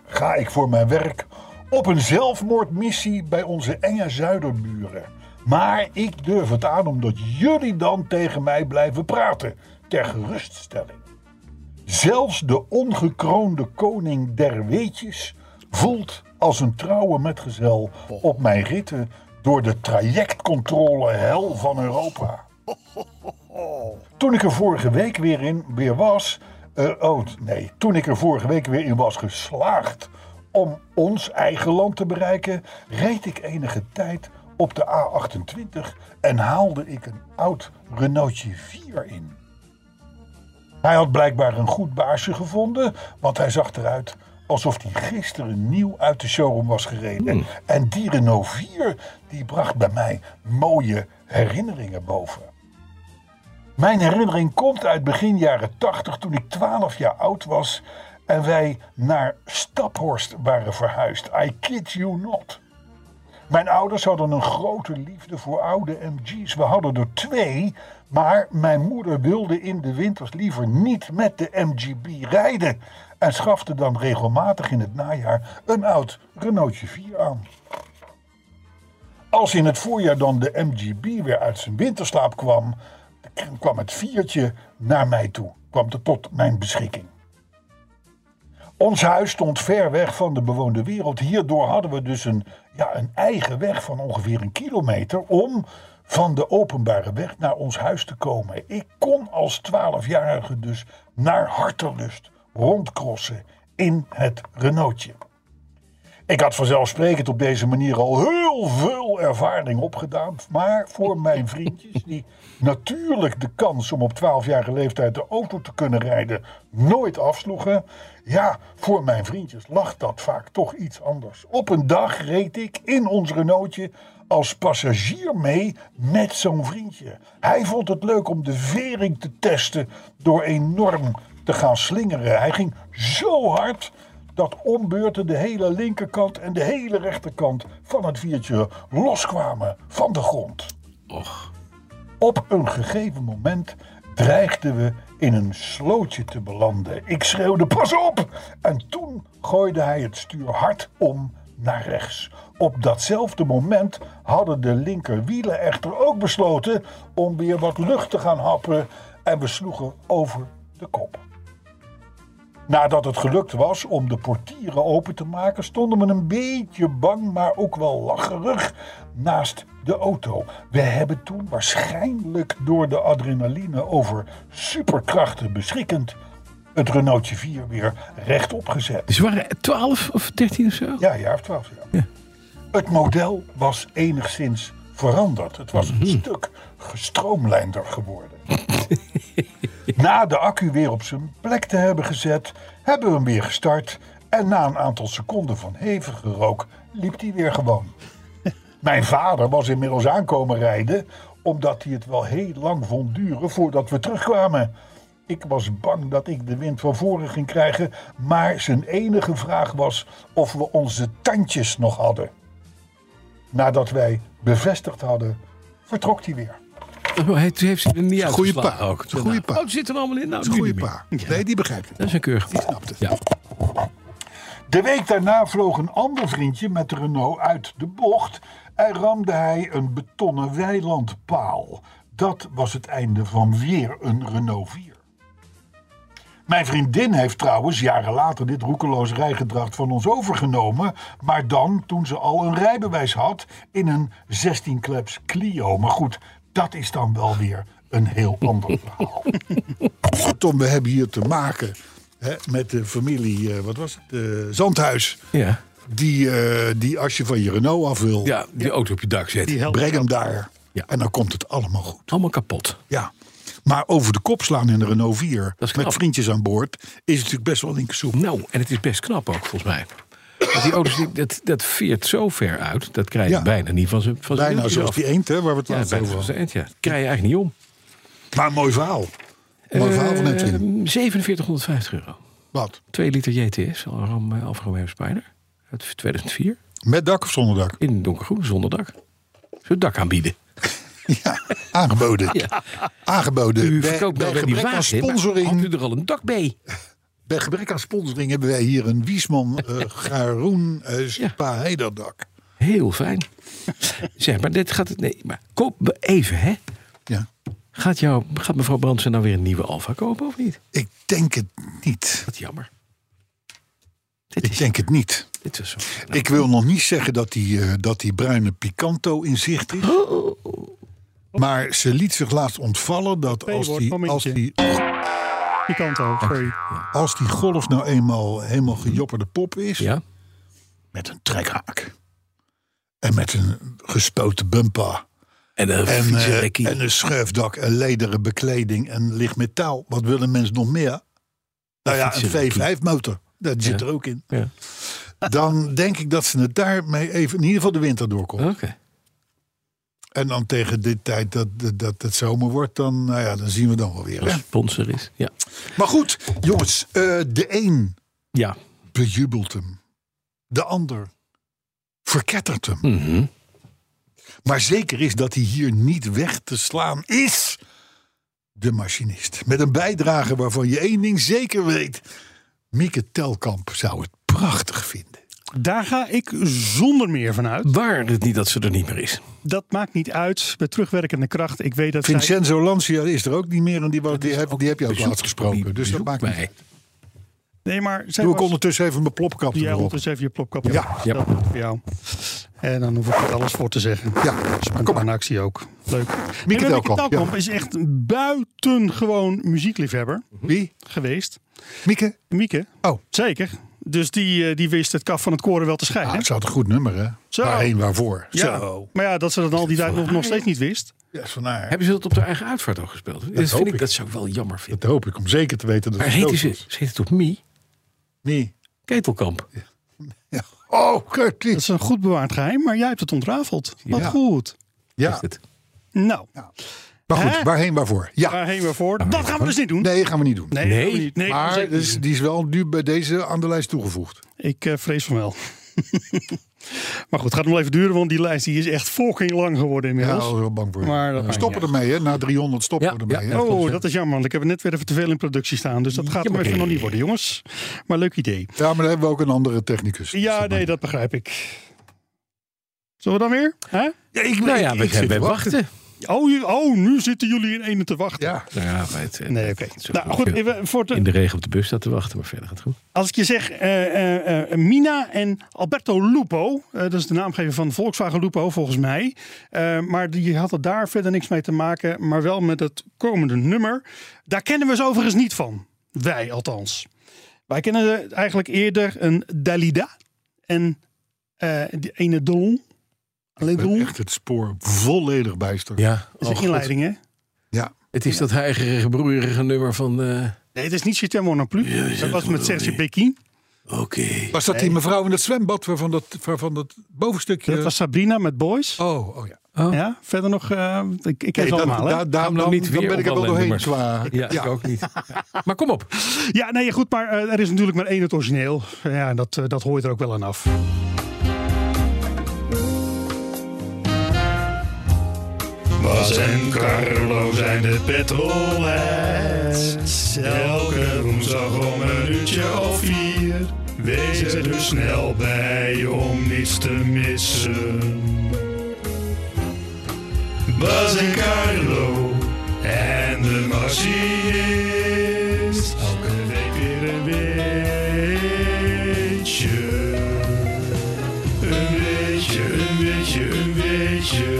[SPEAKER 2] ga ik voor mijn werk op een zelfmoordmissie bij onze enge zuiderburen. Maar ik durf het aan omdat jullie dan tegen mij blijven praten, ter geruststelling. Zelfs de ongekroonde koning der weetjes voelt als een trouwe metgezel op mijn ritten door de trajectcontrole hel van Europa. Toen ik er vorige week weer in weer was. eh, oh, nee. Toen ik er vorige week weer in was geslaagd om ons eigen land te bereiken, reed ik enige tijd op de A28 en haalde ik een oud Renaultje 4 in. Hij had blijkbaar een goed baasje gevonden, want hij zag eruit alsof hij gisteren nieuw uit de showroom was gereden. En die Renault 4 die bracht bij mij mooie herinneringen boven. Mijn herinnering komt uit begin jaren 80 toen ik 12 jaar oud was en wij naar Staphorst waren verhuisd. I kid you not. Mijn ouders hadden een grote liefde voor oude MG's. We hadden er twee, maar mijn moeder wilde in de winters liever niet met de MGB rijden. En schafte dan regelmatig in het najaar een oud Renaultje 4 aan. Als in het voorjaar dan de MGB weer uit zijn winterslaap kwam, kwam het viertje naar mij toe, kwam het tot mijn beschikking. Ons huis stond ver weg van de bewoonde wereld. Hierdoor hadden we dus een, ja, een eigen weg van ongeveer een kilometer om van de openbare weg naar ons huis te komen. Ik kon als 12-jarige dus naar hartelust rondkrossen in het Renaultje. Ik had vanzelfsprekend op deze manier al heel veel ervaring opgedaan. Maar voor mijn vriendjes, die natuurlijk de kans om op 12-jarige leeftijd de auto te kunnen rijden nooit afsloegen. Ja, voor mijn vriendjes lag dat vaak toch iets anders. Op een dag reed ik in ons Renaultje als passagier mee met zo'n vriendje. Hij vond het leuk om de vering te testen door enorm te gaan slingeren. Hij ging zo hard dat ombeurten de hele linkerkant en de hele rechterkant van het viertje loskwamen van de grond.
[SPEAKER 3] Och,
[SPEAKER 2] Op een gegeven moment dreigden we in een slootje te belanden. Ik schreeuwde pas op en toen gooide hij het stuur hard om
[SPEAKER 5] naar rechts. Op datzelfde moment hadden de linkerwielen echter ook besloten om weer wat lucht te gaan happen en we sloegen over de kop. Nadat het gelukt was om de portieren open te maken, stonden we een beetje bang, maar ook wel lacherig naast de auto. We hebben toen waarschijnlijk door de adrenaline over superkrachten beschikkend het Renaultje 4 weer rechtop gezet.
[SPEAKER 3] Dus ze waren 12 of 13 of zo?
[SPEAKER 5] Ja, jaar of twaalf jaar. Het model was enigszins veranderd. Het was een stuk gestroomlijnder geworden. <laughs> na de accu weer op zijn plek te hebben gezet, hebben we hem weer gestart. En na een aantal seconden van hevige rook liep hij weer gewoon. Mijn vader was inmiddels aankomen rijden, omdat hij het wel heel lang vond duren voordat we terugkwamen. Ik was bang dat ik de wind van voren ging krijgen, maar zijn enige vraag was of we onze tandjes nog hadden. Nadat wij bevestigd hadden, vertrok hij weer.
[SPEAKER 3] Oh, hij, toen heeft ze er niet uit.
[SPEAKER 2] goede pa.
[SPEAKER 3] Ook.
[SPEAKER 2] Het is een goede pa.
[SPEAKER 3] Oh, het zit er allemaal in. Nou,
[SPEAKER 2] Dat is een
[SPEAKER 3] nu
[SPEAKER 2] goede
[SPEAKER 3] niet
[SPEAKER 2] pa.
[SPEAKER 3] meer.
[SPEAKER 2] Nee, die begrijpt het.
[SPEAKER 3] Dat is een keurige pa.
[SPEAKER 2] snapt het.
[SPEAKER 3] Ja.
[SPEAKER 5] De week daarna vloog een ander vriendje met de Renault uit de bocht en ramde hij een betonnen weilandpaal. Dat was het einde van weer een Renault 4. Mijn vriendin heeft trouwens jaren later dit roekeloos rijgedrag van ons overgenomen, maar dan toen ze al een rijbewijs had in een 16-kleps Clio. Maar goed, dat is dan wel weer een heel ander verhaal.
[SPEAKER 2] Kortom, we hebben hier te maken hè, met de familie, eh, wat was het, eh, Zandhuis.
[SPEAKER 3] Ja.
[SPEAKER 2] Die, eh, die als je van je Renault af wil,
[SPEAKER 3] ja, die auto op je dak zetten.
[SPEAKER 4] Die helpt.
[SPEAKER 2] breng hem daar.
[SPEAKER 3] Ja.
[SPEAKER 2] En dan komt het allemaal goed.
[SPEAKER 3] Allemaal kapot.
[SPEAKER 2] Ja. Maar over de kop slaan in de Renault 4
[SPEAKER 3] Dat is knap.
[SPEAKER 2] met vriendjes aan boord is natuurlijk best wel linkersoep.
[SPEAKER 3] Nou, en het is best knap ook, volgens mij. Want die auto's, die- dat, dat veert zo ver uit. Dat krijg je
[SPEAKER 2] Ja.
[SPEAKER 3] bijna niet van zijn van z'n
[SPEAKER 2] Bijna
[SPEAKER 3] wieltjes
[SPEAKER 2] zoals
[SPEAKER 3] af.
[SPEAKER 2] die eend hè, waar we het
[SPEAKER 3] Ja,
[SPEAKER 2] laatst
[SPEAKER 3] bijna
[SPEAKER 2] over
[SPEAKER 3] zoals
[SPEAKER 2] hadden.
[SPEAKER 3] een eend, ja. Dat krijg je eigenlijk niet om.
[SPEAKER 2] Maar een mooi verhaal. Een mooi verhaal van
[SPEAKER 3] Eh,
[SPEAKER 2] Edwin.
[SPEAKER 3] 4750 euro.
[SPEAKER 2] Wat?
[SPEAKER 3] 2 liter JTS, een Ram eh, Alfa Romeo Spider. Uit 2004.
[SPEAKER 2] Met dak of zonder dak? <laughs>
[SPEAKER 3] In donkergroen, zonder dak. Zullen we dak aanbieden?
[SPEAKER 2] Ja, aangeboden.
[SPEAKER 3] Ja.
[SPEAKER 2] Aangeboden.
[SPEAKER 3] U
[SPEAKER 2] Bij-
[SPEAKER 3] verkoopt
[SPEAKER 2] bij
[SPEAKER 3] nou wel die
[SPEAKER 2] gebrek aan
[SPEAKER 3] wagen, maar
[SPEAKER 2] sponsoring.
[SPEAKER 3] Had u er al een dak bij?
[SPEAKER 2] Bij gebrek aan sponsoring hebben wij hier een Wiesman
[SPEAKER 3] <laughs>
[SPEAKER 2] eh Garoen eh Spa Heiderdak.
[SPEAKER 3] Heel
[SPEAKER 2] <laughs>
[SPEAKER 3] fijn. zeg, maar dit gaat het... Nee, maar koop me even, hè.
[SPEAKER 2] Ja.
[SPEAKER 3] Gaat, jou, gaat mevrouw Brandsen nou weer een nieuwe Alfa kopen of niet?
[SPEAKER 2] Ik denk het niet.
[SPEAKER 3] Wat jammer. Dit
[SPEAKER 2] Ik
[SPEAKER 3] is,
[SPEAKER 2] denk het niet.
[SPEAKER 3] dit is zo. Nou,
[SPEAKER 2] Ik wil nog niet zeggen dat die, eh, dat die bruine Picanto in zicht is.
[SPEAKER 3] Oh.
[SPEAKER 2] Maar ze liet zich laatst ontvallen dat als
[SPEAKER 4] P-woord,
[SPEAKER 2] die, als,
[SPEAKER 4] momentje.
[SPEAKER 2] die,
[SPEAKER 4] Die kant al, sorry.
[SPEAKER 2] als die golf nou eenmaal helemaal gejopperde pop is,
[SPEAKER 3] ja,
[SPEAKER 2] met een trekhaak en met een gespoten bumper
[SPEAKER 3] en een
[SPEAKER 2] en, eh,
[SPEAKER 3] fietsenrekkie.
[SPEAKER 2] en een schuifdak en lederen bekleding en licht metaal. Wat willen mensen nog meer? Nou ja, een
[SPEAKER 3] fietsenrekkie.
[SPEAKER 2] V5 motor. Dat zit er ook in.
[SPEAKER 3] Ja.
[SPEAKER 2] Dan denk ik dat ze het daarmee even in ieder geval de winter doorkomt.
[SPEAKER 3] Oké.
[SPEAKER 2] En dan tegen dit tijd dat, dat, dat het zomer wordt, dan, nou ja, dan zien we dan wel weer.
[SPEAKER 3] Als
[SPEAKER 2] Hè?
[SPEAKER 3] sponsor is. Ja.
[SPEAKER 2] Maar goed, jongens, eh, de een
[SPEAKER 3] Ja.
[SPEAKER 2] bejubelt hem. De ander verkettert hem.
[SPEAKER 3] Mhm.
[SPEAKER 2] Maar zeker is dat hij hier niet weg te slaan is. De machinist. Met een bijdrage waarvan je één ding zeker weet. Mieke Telkamp zou het prachtig vinden.
[SPEAKER 4] Daar ga ik zonder meer van uit.
[SPEAKER 3] Waar het niet dat ze er niet meer is.
[SPEAKER 4] Dat maakt niet uit. Bij terugwerkende kracht. Ik weet dat zij-
[SPEAKER 2] Vincenzo Lancia is er ook niet meer en die, was- die,
[SPEAKER 3] is
[SPEAKER 2] heb,
[SPEAKER 3] ook
[SPEAKER 2] die heb je ook
[SPEAKER 3] bezoek-
[SPEAKER 2] laatst
[SPEAKER 3] die
[SPEAKER 2] gesproken. Dus dat
[SPEAKER 3] bezoekt
[SPEAKER 2] maakt niet
[SPEAKER 3] mij.
[SPEAKER 2] uit.
[SPEAKER 4] Nee, maar zij
[SPEAKER 2] Doe ik
[SPEAKER 4] was-
[SPEAKER 2] ondertussen even mijn plopkap
[SPEAKER 4] Ja,
[SPEAKER 2] erop.
[SPEAKER 4] want eens even je plopkap.
[SPEAKER 2] Ja.
[SPEAKER 3] Ja.
[SPEAKER 4] Dat voor jou. En dan hoef ik er alles voor te zeggen.
[SPEAKER 2] Ja, kom
[SPEAKER 4] Spontane
[SPEAKER 2] maar.
[SPEAKER 4] actie ook. Leuk.
[SPEAKER 2] Mieke
[SPEAKER 4] Nee, maar
[SPEAKER 2] Telkamp,
[SPEAKER 4] Telkamp
[SPEAKER 2] ja.
[SPEAKER 4] is echt een buitengewoon muziekliefhebber
[SPEAKER 2] Wie?
[SPEAKER 4] geweest.
[SPEAKER 2] Mieke?
[SPEAKER 4] Mieke.
[SPEAKER 2] Oh.
[SPEAKER 4] Zeker. Dus die, eh, die wist het kaf van het koren wel te scheiden.
[SPEAKER 2] Ah, het zou een goed nummer, hè?
[SPEAKER 4] Zo.
[SPEAKER 2] Waarheen, waarvoor?
[SPEAKER 4] ja.
[SPEAKER 2] Zo.
[SPEAKER 4] Maar ja, dat ze dat al die tijd nog, nog steeds niet wist.
[SPEAKER 2] Ja, is van haar.
[SPEAKER 3] Hebben ze dat op de eigen uitvaart al gespeeld? Dat,
[SPEAKER 2] hoop
[SPEAKER 3] vind ik,
[SPEAKER 2] ik.
[SPEAKER 3] dat zou ik wel jammer vinden.
[SPEAKER 2] Dat hoop ik, om zeker te weten dat
[SPEAKER 3] Maar
[SPEAKER 2] het
[SPEAKER 3] heette
[SPEAKER 2] dood
[SPEAKER 3] ze,
[SPEAKER 2] is.
[SPEAKER 3] ze heette toch Mie
[SPEAKER 2] Nee.
[SPEAKER 3] Ketelkamp?
[SPEAKER 2] Ja. Oh, kijk,
[SPEAKER 4] Dat is een goed bewaard geheim, maar jij hebt het ontrafeld. Wat
[SPEAKER 2] Ja.
[SPEAKER 4] goed.
[SPEAKER 2] Ja,
[SPEAKER 3] Is het?
[SPEAKER 4] Nou,
[SPEAKER 2] maar goed,
[SPEAKER 4] Hè?
[SPEAKER 2] waarheen, waarvoor? Ja,
[SPEAKER 4] waarheen we voor? Dat gaan we dus niet doen.
[SPEAKER 2] nee, gaan we niet doen.
[SPEAKER 4] Nee, dat gaan we
[SPEAKER 3] Nee,
[SPEAKER 4] niet. nee dat gaan we
[SPEAKER 2] maar
[SPEAKER 4] zeker
[SPEAKER 2] dus, die is wel nu bij deze aan de lijst toegevoegd.
[SPEAKER 4] niet. ik eh, vrees van wel. <laughs> Maar goed, het gaat nog wel even duren, want die lijst die is echt fucking lang geworden
[SPEAKER 2] Ja,
[SPEAKER 4] inmiddels.
[SPEAKER 3] oh,
[SPEAKER 2] daar was ik wel bang voor.
[SPEAKER 4] Maar dat
[SPEAKER 2] we
[SPEAKER 4] maakt
[SPEAKER 2] stoppen
[SPEAKER 4] niet
[SPEAKER 2] ermee, hè? Na 300 stoppen
[SPEAKER 3] Ja,
[SPEAKER 2] we ermee.
[SPEAKER 3] ja,
[SPEAKER 2] hè?
[SPEAKER 3] ja.
[SPEAKER 4] Oh, dat is jammer, want ik heb er net weer even te veel in productie staan. Dus dat gaat hem even nog niet worden, jongens. Maar leuk idee.
[SPEAKER 2] Ja, maar dan hebben we ook een andere technicus.
[SPEAKER 4] Ja, nee, dat begrijp ik. Zullen we dan weer? Hè?
[SPEAKER 2] Ja, ik,
[SPEAKER 3] Nou
[SPEAKER 2] ik-
[SPEAKER 3] ja,
[SPEAKER 2] ik
[SPEAKER 3] we
[SPEAKER 2] zit te
[SPEAKER 3] hebben
[SPEAKER 2] wachten.
[SPEAKER 3] wachten.
[SPEAKER 4] Oh, je- oh, nu zitten jullie in ene te wachten.
[SPEAKER 2] Ja,
[SPEAKER 3] Nou ja, maar het, eh,
[SPEAKER 4] Nee, oké.
[SPEAKER 3] het is ook
[SPEAKER 4] Nou
[SPEAKER 3] wel
[SPEAKER 4] goed,
[SPEAKER 3] veel
[SPEAKER 4] even voor
[SPEAKER 3] in
[SPEAKER 4] de,
[SPEAKER 3] de regen op de bus staat te wachten, maar verder gaat het goed.
[SPEAKER 4] als ik je zeg eh, eh, eh, Mina en Alberto Lupo, eh, dat is de naamgever van Volkswagen Lupo volgens mij. Eh, maar die hadden daar verder niks mee te maken, maar wel met het komende nummer. Daar kennen we ze overigens niet van. Wij althans. Wij kennen er eigenlijk eerder een Dalida en eh die ene Dolon. Alleen
[SPEAKER 2] ik ben
[SPEAKER 4] Dolon
[SPEAKER 2] echt Oh, het spoor volledig bijster.
[SPEAKER 3] Ja,
[SPEAKER 4] is een inleiding, hè?
[SPEAKER 3] Het is dat heigerige, broeierige nummer van... eh,
[SPEAKER 4] Nee, het is niet Cité Mon Plus. Dat was met Serge Pekin.
[SPEAKER 3] Oké.
[SPEAKER 2] Was dat die mevrouw in het zwembad waarvan dat, waarvan dat bovenstukje...
[SPEAKER 4] Dat was Sabrina met Boys.
[SPEAKER 2] Oh, oh ja.
[SPEAKER 4] Ja, verder nog, eh, ik, ik ken
[SPEAKER 2] Nee,
[SPEAKER 4] ze
[SPEAKER 2] dat-
[SPEAKER 4] allemaal, hè?
[SPEAKER 2] daar- daar-
[SPEAKER 3] Gaan we nou
[SPEAKER 2] dan,
[SPEAKER 3] niet
[SPEAKER 2] dan
[SPEAKER 3] weer
[SPEAKER 2] ben
[SPEAKER 3] op
[SPEAKER 2] ik er wel
[SPEAKER 3] allerlei
[SPEAKER 2] doorheen
[SPEAKER 3] nummers.
[SPEAKER 2] zwaar.
[SPEAKER 3] Ja, ik ook <laughs> niet. Maar kom op.
[SPEAKER 4] Ja, nee, goed, maar eh, er is natuurlijk maar één het origineel. Ja, en dat, eh, dat hoort er ook wel aan af. Bas en Carlo zijn de petrolheads. Elke woensdag om een uurtje of vier. Wees er dus snel bij om niets te missen. Bas en Carlo en de machinist. Elke week weer een beetje. Een beetje, een beetje, een beetje.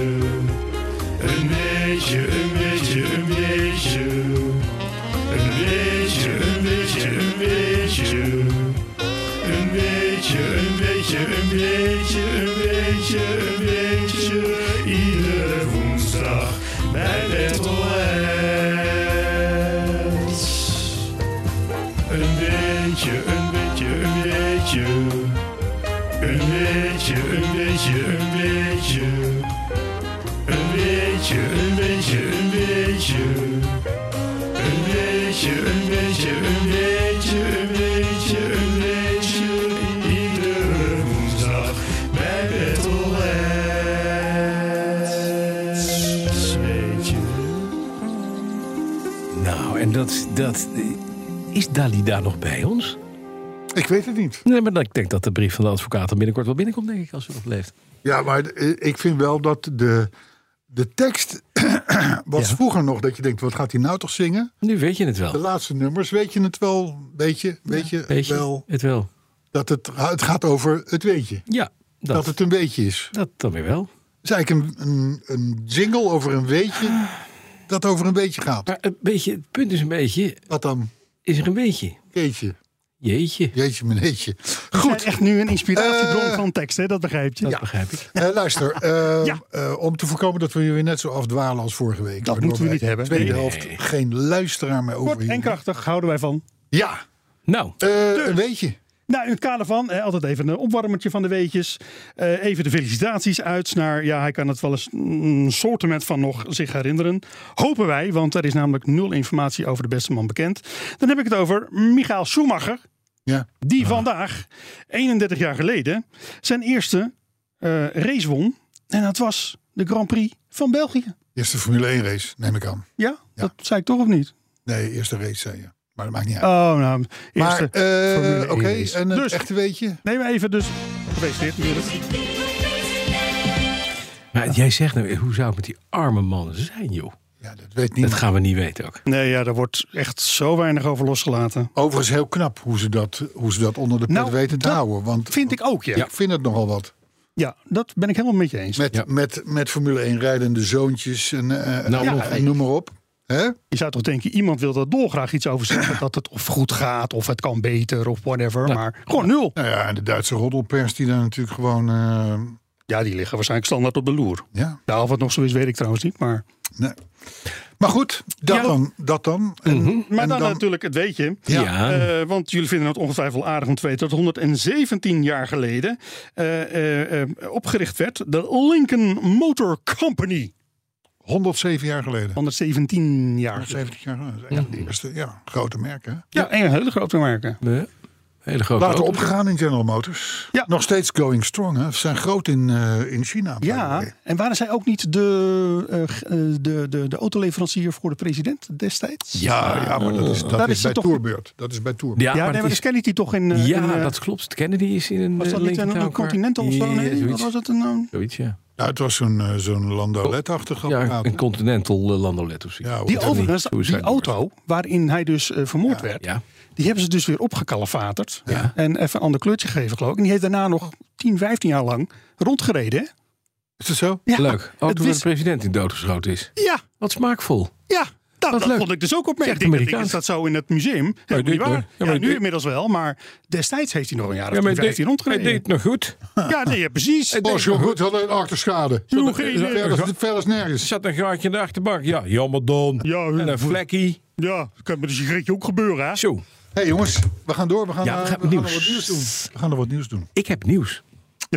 [SPEAKER 4] Een beetje, een beetje, een beetje. Een beetje, een beetje, een beetje. Een beetje, een beetje, een beetje, een beetje, een beetje. Iedere woensdag bij Petrolheads. Een beetje, een beetje, een beetje. Een beetje, een beetje, een beetje. Een beetje, een beetje, een beetje. Een beetje, een beetje, een beetje, een beetje, een beetje. Iedere woensdag bij Petrolheads. Weet je.
[SPEAKER 3] Nou, en dat, dat... eh, Is Dalida nog bij ons?
[SPEAKER 2] Ik weet het niet.
[SPEAKER 3] Nee, maar dan- ik denk dat de brief van de advocaat er binnenkort wel binnenkomt, denk ik, als ze nog leeft.
[SPEAKER 2] Ja, maar eh, ik vind wel dat de, de tekst... <clears throat> was
[SPEAKER 3] Ja.
[SPEAKER 2] vroeger nog dat je denkt, wat gaat hij nou toch zingen?
[SPEAKER 3] Nu weet je het wel.
[SPEAKER 2] De laatste nummers, weet je het wel? Weet je, weet je
[SPEAKER 3] Weet je
[SPEAKER 2] wel
[SPEAKER 3] het wel?
[SPEAKER 2] dat het, het gaat over het weet je.
[SPEAKER 3] Ja,
[SPEAKER 2] Dat,
[SPEAKER 3] dat, dat,
[SPEAKER 2] het een beetje is.
[SPEAKER 3] dan weer wel.
[SPEAKER 2] Het is eigenlijk een, een, een jingle over een weetje dat over een beetje gaat.
[SPEAKER 3] Maar een beetje, het punt is een beetje...
[SPEAKER 2] Wat dan?
[SPEAKER 3] Is er een beetje?
[SPEAKER 2] Keetje.
[SPEAKER 3] Jeetje,
[SPEAKER 2] Jeetje meneetje.
[SPEAKER 4] Goed. echt nu een inspiratiebron
[SPEAKER 2] Eh.
[SPEAKER 4] van tekst, hè? dat begrijp je.
[SPEAKER 3] dat begrijp ik.
[SPEAKER 2] Eh,
[SPEAKER 4] <laughs>
[SPEAKER 2] luister, eh,
[SPEAKER 4] Ja.
[SPEAKER 2] eh, om te voorkomen dat we hier weer net zo afdwalen als vorige week.
[SPEAKER 4] Dat
[SPEAKER 2] waardoor
[SPEAKER 4] moeten we
[SPEAKER 2] wij
[SPEAKER 4] niet hebben.
[SPEAKER 2] Tweede
[SPEAKER 4] Nee.
[SPEAKER 2] helft, geen luisteraar meer over
[SPEAKER 4] Kort en krachtig houden wij van.
[SPEAKER 2] Ja,
[SPEAKER 3] Nou,
[SPEAKER 2] eh, een weetje.
[SPEAKER 4] Nou, in het kader van, eh, altijd even een opwarmertje van de weetjes. Eh, even de felicitaties uit naar, ja, hij kan het wel eens een soortement van nog zich herinneren. Hopen wij, want er is namelijk nul informatie over de beste man bekend. Dan heb ik het over Michael Schumacher,
[SPEAKER 2] Ja.
[SPEAKER 4] die vandaag, 31 jaar geleden, zijn eerste eh, race won. En dat was de Grand Prix van België.
[SPEAKER 2] Eerste Formule 1 race, neem ik aan.
[SPEAKER 4] Ja, dat zei ik toch of niet?
[SPEAKER 2] Nee, eerste race zei je. Maar dat maakt niet uit.
[SPEAKER 4] Oh, nou,
[SPEAKER 2] maar,
[SPEAKER 4] eerste.
[SPEAKER 2] eh,
[SPEAKER 4] Formule 1
[SPEAKER 2] oké,
[SPEAKER 4] race.
[SPEAKER 2] en een
[SPEAKER 4] Dus-
[SPEAKER 2] echte weetje?
[SPEAKER 4] Neem maar even dus, gefeliciteerd natuurlijk.
[SPEAKER 3] maar jij zegt nou, hoe zou het met die arme mannen zijn, joh?
[SPEAKER 2] Ja, dat weet
[SPEAKER 3] Dat
[SPEAKER 2] niemand.
[SPEAKER 3] gaan we niet weten ook.
[SPEAKER 4] Nee, ja, daar wordt echt zo weinig over losgelaten.
[SPEAKER 2] Overigens heel knap hoe ze dat, hoe ze dat onder de pet
[SPEAKER 4] Nou,
[SPEAKER 2] weten te
[SPEAKER 4] dat
[SPEAKER 2] houden. Want
[SPEAKER 4] Vind ik ook, ja.
[SPEAKER 2] ik vind het nogal wat.
[SPEAKER 4] Ja, dat ben ik helemaal met je eens.
[SPEAKER 2] Met, met, met Formule 1 rijdende zoontjes en, eh,
[SPEAKER 3] Nou,
[SPEAKER 2] eh,
[SPEAKER 3] nog
[SPEAKER 2] en noem maar op. Hè?
[SPEAKER 4] Je zou toch denken, iemand wil daar dolgraag iets over zeggen. dat het of goed gaat, of het kan beter, of whatever. Maar gewoon nul.
[SPEAKER 2] Nou ja, en de Duitse roddelpers die daar natuurlijk gewoon... eh,
[SPEAKER 4] Ja, die liggen waarschijnlijk standaard op de loer.
[SPEAKER 2] ja,
[SPEAKER 4] Nou, of het nog zo is, weet ik trouwens niet. Maar,
[SPEAKER 2] nee. Maar goed, dat
[SPEAKER 4] Ja.
[SPEAKER 2] dan. Dat dan. En,
[SPEAKER 4] maar
[SPEAKER 2] en
[SPEAKER 4] dan, natuurlijk het weet je.
[SPEAKER 2] Ja.
[SPEAKER 4] Eh, want jullie vinden het ongetwijfeld aardig om te weten dat 117 jaar geleden eh, eh, eh, opgericht werd de Lincoln Motor Company.
[SPEAKER 2] 107 jaar geleden.
[SPEAKER 4] 117 jaar.
[SPEAKER 2] 170 jaar geleden. Ja, de eerste ja, grote merk, hè?
[SPEAKER 4] Ja, en een hele grote merken.
[SPEAKER 3] Ja. Hele grote
[SPEAKER 2] Later
[SPEAKER 3] auto.
[SPEAKER 2] opgegaan in General Motors.
[SPEAKER 4] Ja.
[SPEAKER 2] Nog steeds going strong. Hè. Ze zijn groot in, eh, in China. by the
[SPEAKER 4] Ja,
[SPEAKER 2] way.
[SPEAKER 4] en waren zij ook niet de, eh, g- eh, de, de, de autoleverancier voor de president destijds?
[SPEAKER 2] Ja, ja, maar dat is, dat
[SPEAKER 4] Daar
[SPEAKER 2] is,
[SPEAKER 4] is
[SPEAKER 2] bij
[SPEAKER 4] hij toch-
[SPEAKER 2] Tourbeurt. Dat is bij Tourbeurt.
[SPEAKER 3] Ja,
[SPEAKER 4] Ja,
[SPEAKER 3] maar
[SPEAKER 4] nee,
[SPEAKER 3] het
[SPEAKER 4] maar
[SPEAKER 3] is-
[SPEAKER 4] dat kende hij toch in... eh, in,
[SPEAKER 3] ja
[SPEAKER 4] eh,
[SPEAKER 3] dat klopt. Kennedy is in een
[SPEAKER 4] Was dat
[SPEAKER 3] eh,
[SPEAKER 4] niet een,
[SPEAKER 3] Lincoln
[SPEAKER 4] een
[SPEAKER 3] Town
[SPEAKER 4] continental of zo?
[SPEAKER 3] Car. Ja,
[SPEAKER 4] Nee, wat
[SPEAKER 3] zoiets.
[SPEAKER 4] was het een... eh,
[SPEAKER 3] Zoiets, ja.
[SPEAKER 2] Ja, het was zo'n eh, zo'n landoletachtig
[SPEAKER 3] Ja,
[SPEAKER 2] apparaat.
[SPEAKER 3] een continental eh, landolet of zoiets.
[SPEAKER 2] Ja, hoor.
[SPEAKER 4] Die
[SPEAKER 3] Of niet,
[SPEAKER 4] overigens,
[SPEAKER 3] Suicide
[SPEAKER 4] die auto waarin hij dus eh, vermoord werd,
[SPEAKER 3] Ja.
[SPEAKER 4] die hebben ze dus weer opgekalefaterd.
[SPEAKER 3] Ja.
[SPEAKER 4] En even een ander kleurtje gegeven, geloof ik. En die heeft daarna nog 10, 15 jaar lang rondgereden. hè?
[SPEAKER 2] Is dat zo?
[SPEAKER 4] Ja,
[SPEAKER 3] Leuk. Auto
[SPEAKER 4] het
[SPEAKER 3] waar de
[SPEAKER 4] wist-
[SPEAKER 3] president in doodgeschoten is.
[SPEAKER 4] Ja,
[SPEAKER 3] Wat smaakvol.
[SPEAKER 4] ja. Nou,
[SPEAKER 3] Wat
[SPEAKER 4] dat
[SPEAKER 3] leuk.
[SPEAKER 4] vond ik dus ook
[SPEAKER 3] Echt
[SPEAKER 4] opmerkelijk. Ik denk,
[SPEAKER 3] Amerikaans.
[SPEAKER 4] Is dat zo in het museum? Ja,
[SPEAKER 3] dit
[SPEAKER 4] niet
[SPEAKER 3] hoor.
[SPEAKER 4] waar.
[SPEAKER 3] Ja,
[SPEAKER 4] Ja,
[SPEAKER 3] maar
[SPEAKER 4] nu
[SPEAKER 3] dit-
[SPEAKER 4] inmiddels wel, maar destijds heeft hij nog een jaar of
[SPEAKER 3] Ja,
[SPEAKER 4] 10,
[SPEAKER 3] maar
[SPEAKER 4] 15
[SPEAKER 3] hij
[SPEAKER 4] rondgereden.
[SPEAKER 3] deed nog goed.
[SPEAKER 4] Ja, nee, ja, precies. Oh,
[SPEAKER 2] Pas je goed had een achterschade.
[SPEAKER 4] Joe, geen idee.
[SPEAKER 2] Verder verder is nergens.
[SPEAKER 3] Er zat een gaatje in de achterbak. Ja, jammer dan.
[SPEAKER 4] Ja,
[SPEAKER 3] en een vlekkie.
[SPEAKER 4] Ja, dat kan met een sigaretje ook gebeuren, hè?
[SPEAKER 3] Zo,
[SPEAKER 2] Hé hey, jongens, we gaan door. We gaan,
[SPEAKER 3] Ja, we
[SPEAKER 2] eh,
[SPEAKER 3] gaan
[SPEAKER 2] nog
[SPEAKER 3] nieuws.
[SPEAKER 2] wat nieuws doen. We gaan er wat nieuws doen.
[SPEAKER 3] ik heb nieuws.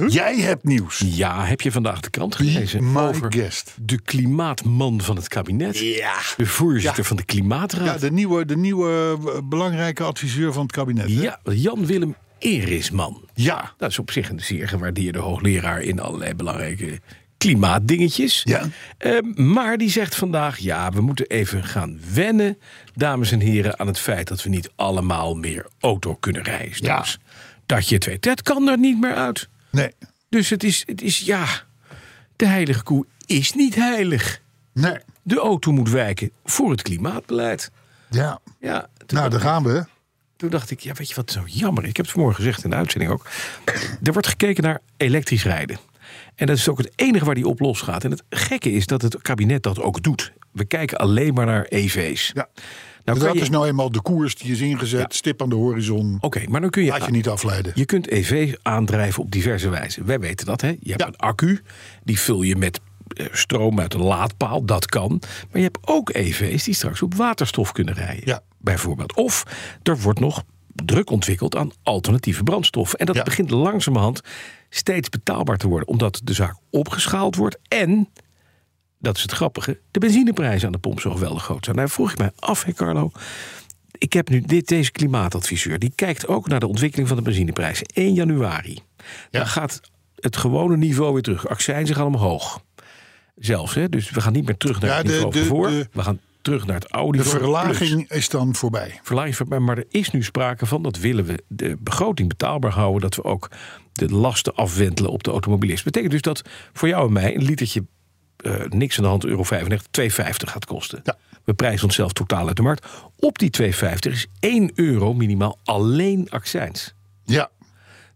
[SPEAKER 2] Jij hebt nieuws.
[SPEAKER 3] Ja, heb je vandaag de krant
[SPEAKER 2] Be
[SPEAKER 3] gelezen
[SPEAKER 2] my
[SPEAKER 3] over
[SPEAKER 2] guest.
[SPEAKER 3] de klimaatman van het kabinet?
[SPEAKER 2] Ja.
[SPEAKER 3] De voorzitter van de
[SPEAKER 2] Ja,
[SPEAKER 3] Klimaatraad?
[SPEAKER 2] de nieuwe, de nieuwe eh, belangrijke adviseur van het kabinet. hè?
[SPEAKER 3] Ja, Jan-Willem Erisman.
[SPEAKER 2] Ja.
[SPEAKER 3] Dat is op zich een zeer gewaardeerde hoogleraar in allerlei belangrijke klimaatdingetjes.
[SPEAKER 2] Ja.
[SPEAKER 3] Eh, maar die zegt vandaag, ja, we moeten even gaan wennen, dames en heren, aan het feit dat we niet allemaal meer auto kunnen reizen.
[SPEAKER 2] Ja.
[SPEAKER 3] Dus dat je het weet, dat kan er niet meer uit.
[SPEAKER 2] Nee.
[SPEAKER 3] Dus het is, het is, ja, de heilige koe is niet heilig.
[SPEAKER 2] Nee.
[SPEAKER 3] De auto moet wijken voor het klimaatbeleid.
[SPEAKER 2] Ja.
[SPEAKER 3] Ja, toen,
[SPEAKER 2] Nou, daar gaan we.
[SPEAKER 3] toen dacht ik, ja, weet je wat zo jammer is? Ik heb het vanmorgen gezegd in de uitzending ook. Er wordt gekeken naar elektrisch rijden. En dat is ook het enige waar die op los gaat. En het gekke is dat het kabinet dat ook doet. We kijken alleen maar naar EV's.
[SPEAKER 2] Ja.
[SPEAKER 3] Nou, kan
[SPEAKER 2] dat
[SPEAKER 3] je,
[SPEAKER 2] is nou eenmaal de koers die is ingezet. Stip aan de horizon.
[SPEAKER 3] Oké, maar dan kun je
[SPEAKER 2] Laat je niet afleiden.
[SPEAKER 3] Je kunt EV aandrijven op diverse wijze. Wij weten dat, hè? Je hebt
[SPEAKER 2] Ja.
[SPEAKER 3] een accu, die vul je met eh, stroom uit een laadpaal, dat kan. Maar je hebt ook EV's die straks op waterstof kunnen rijden,
[SPEAKER 2] Ja.
[SPEAKER 3] bijvoorbeeld. Of er wordt nog druk ontwikkeld aan alternatieve brandstoffen. En dat
[SPEAKER 2] Ja.
[SPEAKER 3] begint langzamerhand steeds betaalbaar te worden, omdat de zaak opgeschaald wordt en. Dat is het grappige. De benzineprijzen aan de pomp zo geweldig groot zijn. Daar vroeg ik mij af, hè Carlo. Ik heb nu dit, deze klimaatadviseur. Die kijkt ook naar de ontwikkeling van de benzineprijzen. 1 januari. Dan gaat het gewone niveau weer terug. Accijnzen gaan omhoog. Zelfs, hè? Dus we gaan niet meer terug naar
[SPEAKER 2] Ja,
[SPEAKER 3] het
[SPEAKER 2] de-
[SPEAKER 3] niveau
[SPEAKER 2] de-
[SPEAKER 3] van voor.
[SPEAKER 2] de-
[SPEAKER 3] we gaan terug naar het oude
[SPEAKER 2] De
[SPEAKER 3] niveau. plus.
[SPEAKER 2] verlaging is dan voorbij.
[SPEAKER 3] Verlaging van- maar- Maar er is nu sprake van, dat willen we de begroting betaalbaar houden, dat we ook de lasten afwentelen op de automobilist. Betekent dus dat voor jou en mij een litertje eh, niks aan de hand, euro 95, 2,50 gaat kosten.
[SPEAKER 2] Ja.
[SPEAKER 3] We prijzen onszelf totaal uit de markt. Op die 2,50 is 1 euro minimaal alleen accijns.
[SPEAKER 2] Ja.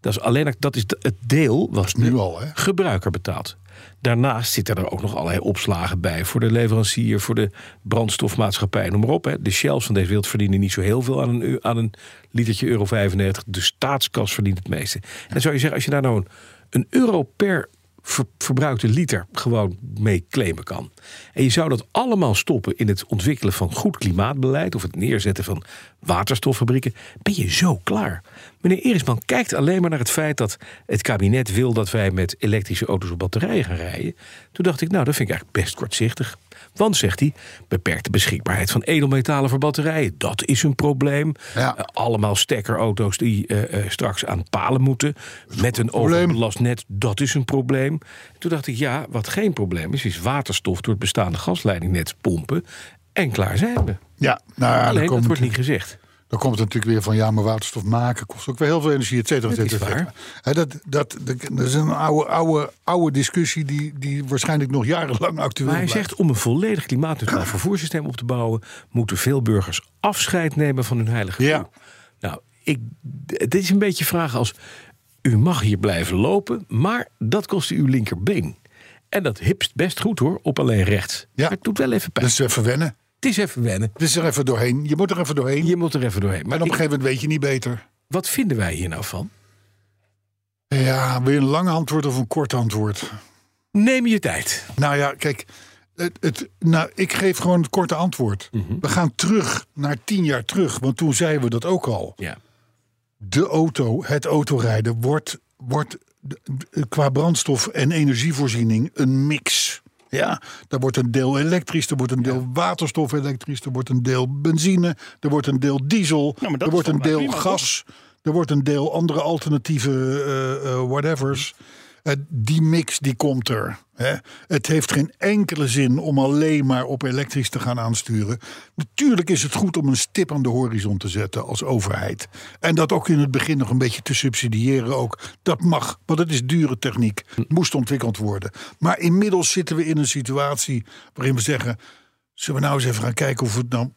[SPEAKER 3] Dat is, alleen, dat is de- het deel wat
[SPEAKER 2] Nu
[SPEAKER 3] de
[SPEAKER 2] al, hè?
[SPEAKER 3] gebruiker betaalt. Daarnaast zitten er ook nog allerlei opslagen bij voor de leverancier, voor de brandstofmaatschappij, noem maar op. Hè. De shells van deze wereld verdienen niet zo heel veel aan een, eu- aan een litertje euro 95. De staatskas verdient het meeste. En dan zou je zeggen, als je daar nou een, een euro per ver- verbruikte liter gewoon mee claimen kan. En je zou dat allemaal stoppen in het ontwikkelen van goed klimaatbeleid of het neerzetten van waterstoffabrieken, ben je zo klaar. Meneer Erisman kijkt alleen maar naar het feit dat het kabinet wil dat wij met elektrische auto's op batterijen gaan rijden. Toen dacht ik, nou, dat vind ik eigenlijk best kortzichtig. Want, zegt hij, beperkte beschikbaarheid van edelmetalen voor batterijen. Dat is een probleem.
[SPEAKER 2] Ja.
[SPEAKER 3] Eh, allemaal stekkerauto's die eh, eh, straks aan palen moeten. Met een
[SPEAKER 2] probleem.
[SPEAKER 3] overbelast net. Dat is een probleem. Toen dacht ik, ja, wat geen probleem is, is waterstof door het bestaande gasleidingnet pompen. En klaar zijn we.
[SPEAKER 2] Ja. Nou ja, dan
[SPEAKER 3] Alleen, dat
[SPEAKER 2] komt,
[SPEAKER 3] wordt niet gezegd.
[SPEAKER 2] dan komt het natuurlijk weer van... ja, maar waterstof maken kost ook weer heel veel energie, et cetera, et
[SPEAKER 3] Dat is
[SPEAKER 2] cetera. et cetera. Hè, Dat, dat, dat, dat is een oude, oude, oude discussie... Die, die waarschijnlijk nog jarenlang actueel
[SPEAKER 3] Maar hij
[SPEAKER 2] blijft.
[SPEAKER 3] zegt, om een volledig klimaatneutraal vervoerssysteem op te bouwen, moeten veel burgers afscheid nemen van hun heilige
[SPEAKER 2] Ja.
[SPEAKER 3] koe. Nou, ik, het is een beetje vragen als, u mag hier blijven lopen, maar dat kost u uw linkerbeen. En dat hipst best goed hoor, op alleen rechts.
[SPEAKER 2] Ja.
[SPEAKER 3] Maar het doet wel even pijn.
[SPEAKER 2] Dus even wennen.
[SPEAKER 3] het is even wennen.
[SPEAKER 2] Dus er even doorheen. Je moet er even doorheen.
[SPEAKER 3] Je moet er even doorheen.
[SPEAKER 2] en
[SPEAKER 3] Maar
[SPEAKER 2] op een
[SPEAKER 3] ik-
[SPEAKER 2] gegeven moment weet je niet beter.
[SPEAKER 3] wat vinden wij hier nou van?
[SPEAKER 2] Ja, wil je een lang antwoord of een kort antwoord?
[SPEAKER 3] Neem je tijd.
[SPEAKER 2] Nou ja, kijk. Het, het, nou, ik geef gewoon het korte antwoord.
[SPEAKER 4] Mhm.
[SPEAKER 2] We gaan terug naar tien jaar terug. Want toen zeiden we dat ook al.
[SPEAKER 3] Ja.
[SPEAKER 2] De auto, het autorijden, wordt, wordt d- d- qua brandstof en energievoorziening een mix. Ja, daar wordt een deel elektrisch, er wordt een deel waterstof elektrisch, er wordt een deel benzine, er wordt een deel diesel,
[SPEAKER 4] maar dat
[SPEAKER 2] er
[SPEAKER 4] is
[SPEAKER 2] wordt een
[SPEAKER 4] volgens mij
[SPEAKER 2] deel
[SPEAKER 4] prima,
[SPEAKER 2] gas, Er wordt een deel andere alternatieve eh, eh, whatevers. Eh, die mix die komt er. Hè. Het heeft geen enkele zin om alleen maar op elektrisch te gaan aansturen. Natuurlijk is het goed om een stip aan de horizon te zetten als overheid. En dat ook in het begin nog een beetje te subsidiëren. Ook. Dat mag, want het is dure techniek. Moest ontwikkeld worden. Maar inmiddels zitten we in een situatie waarin we zeggen... zullen we nou eens even gaan kijken of we het nou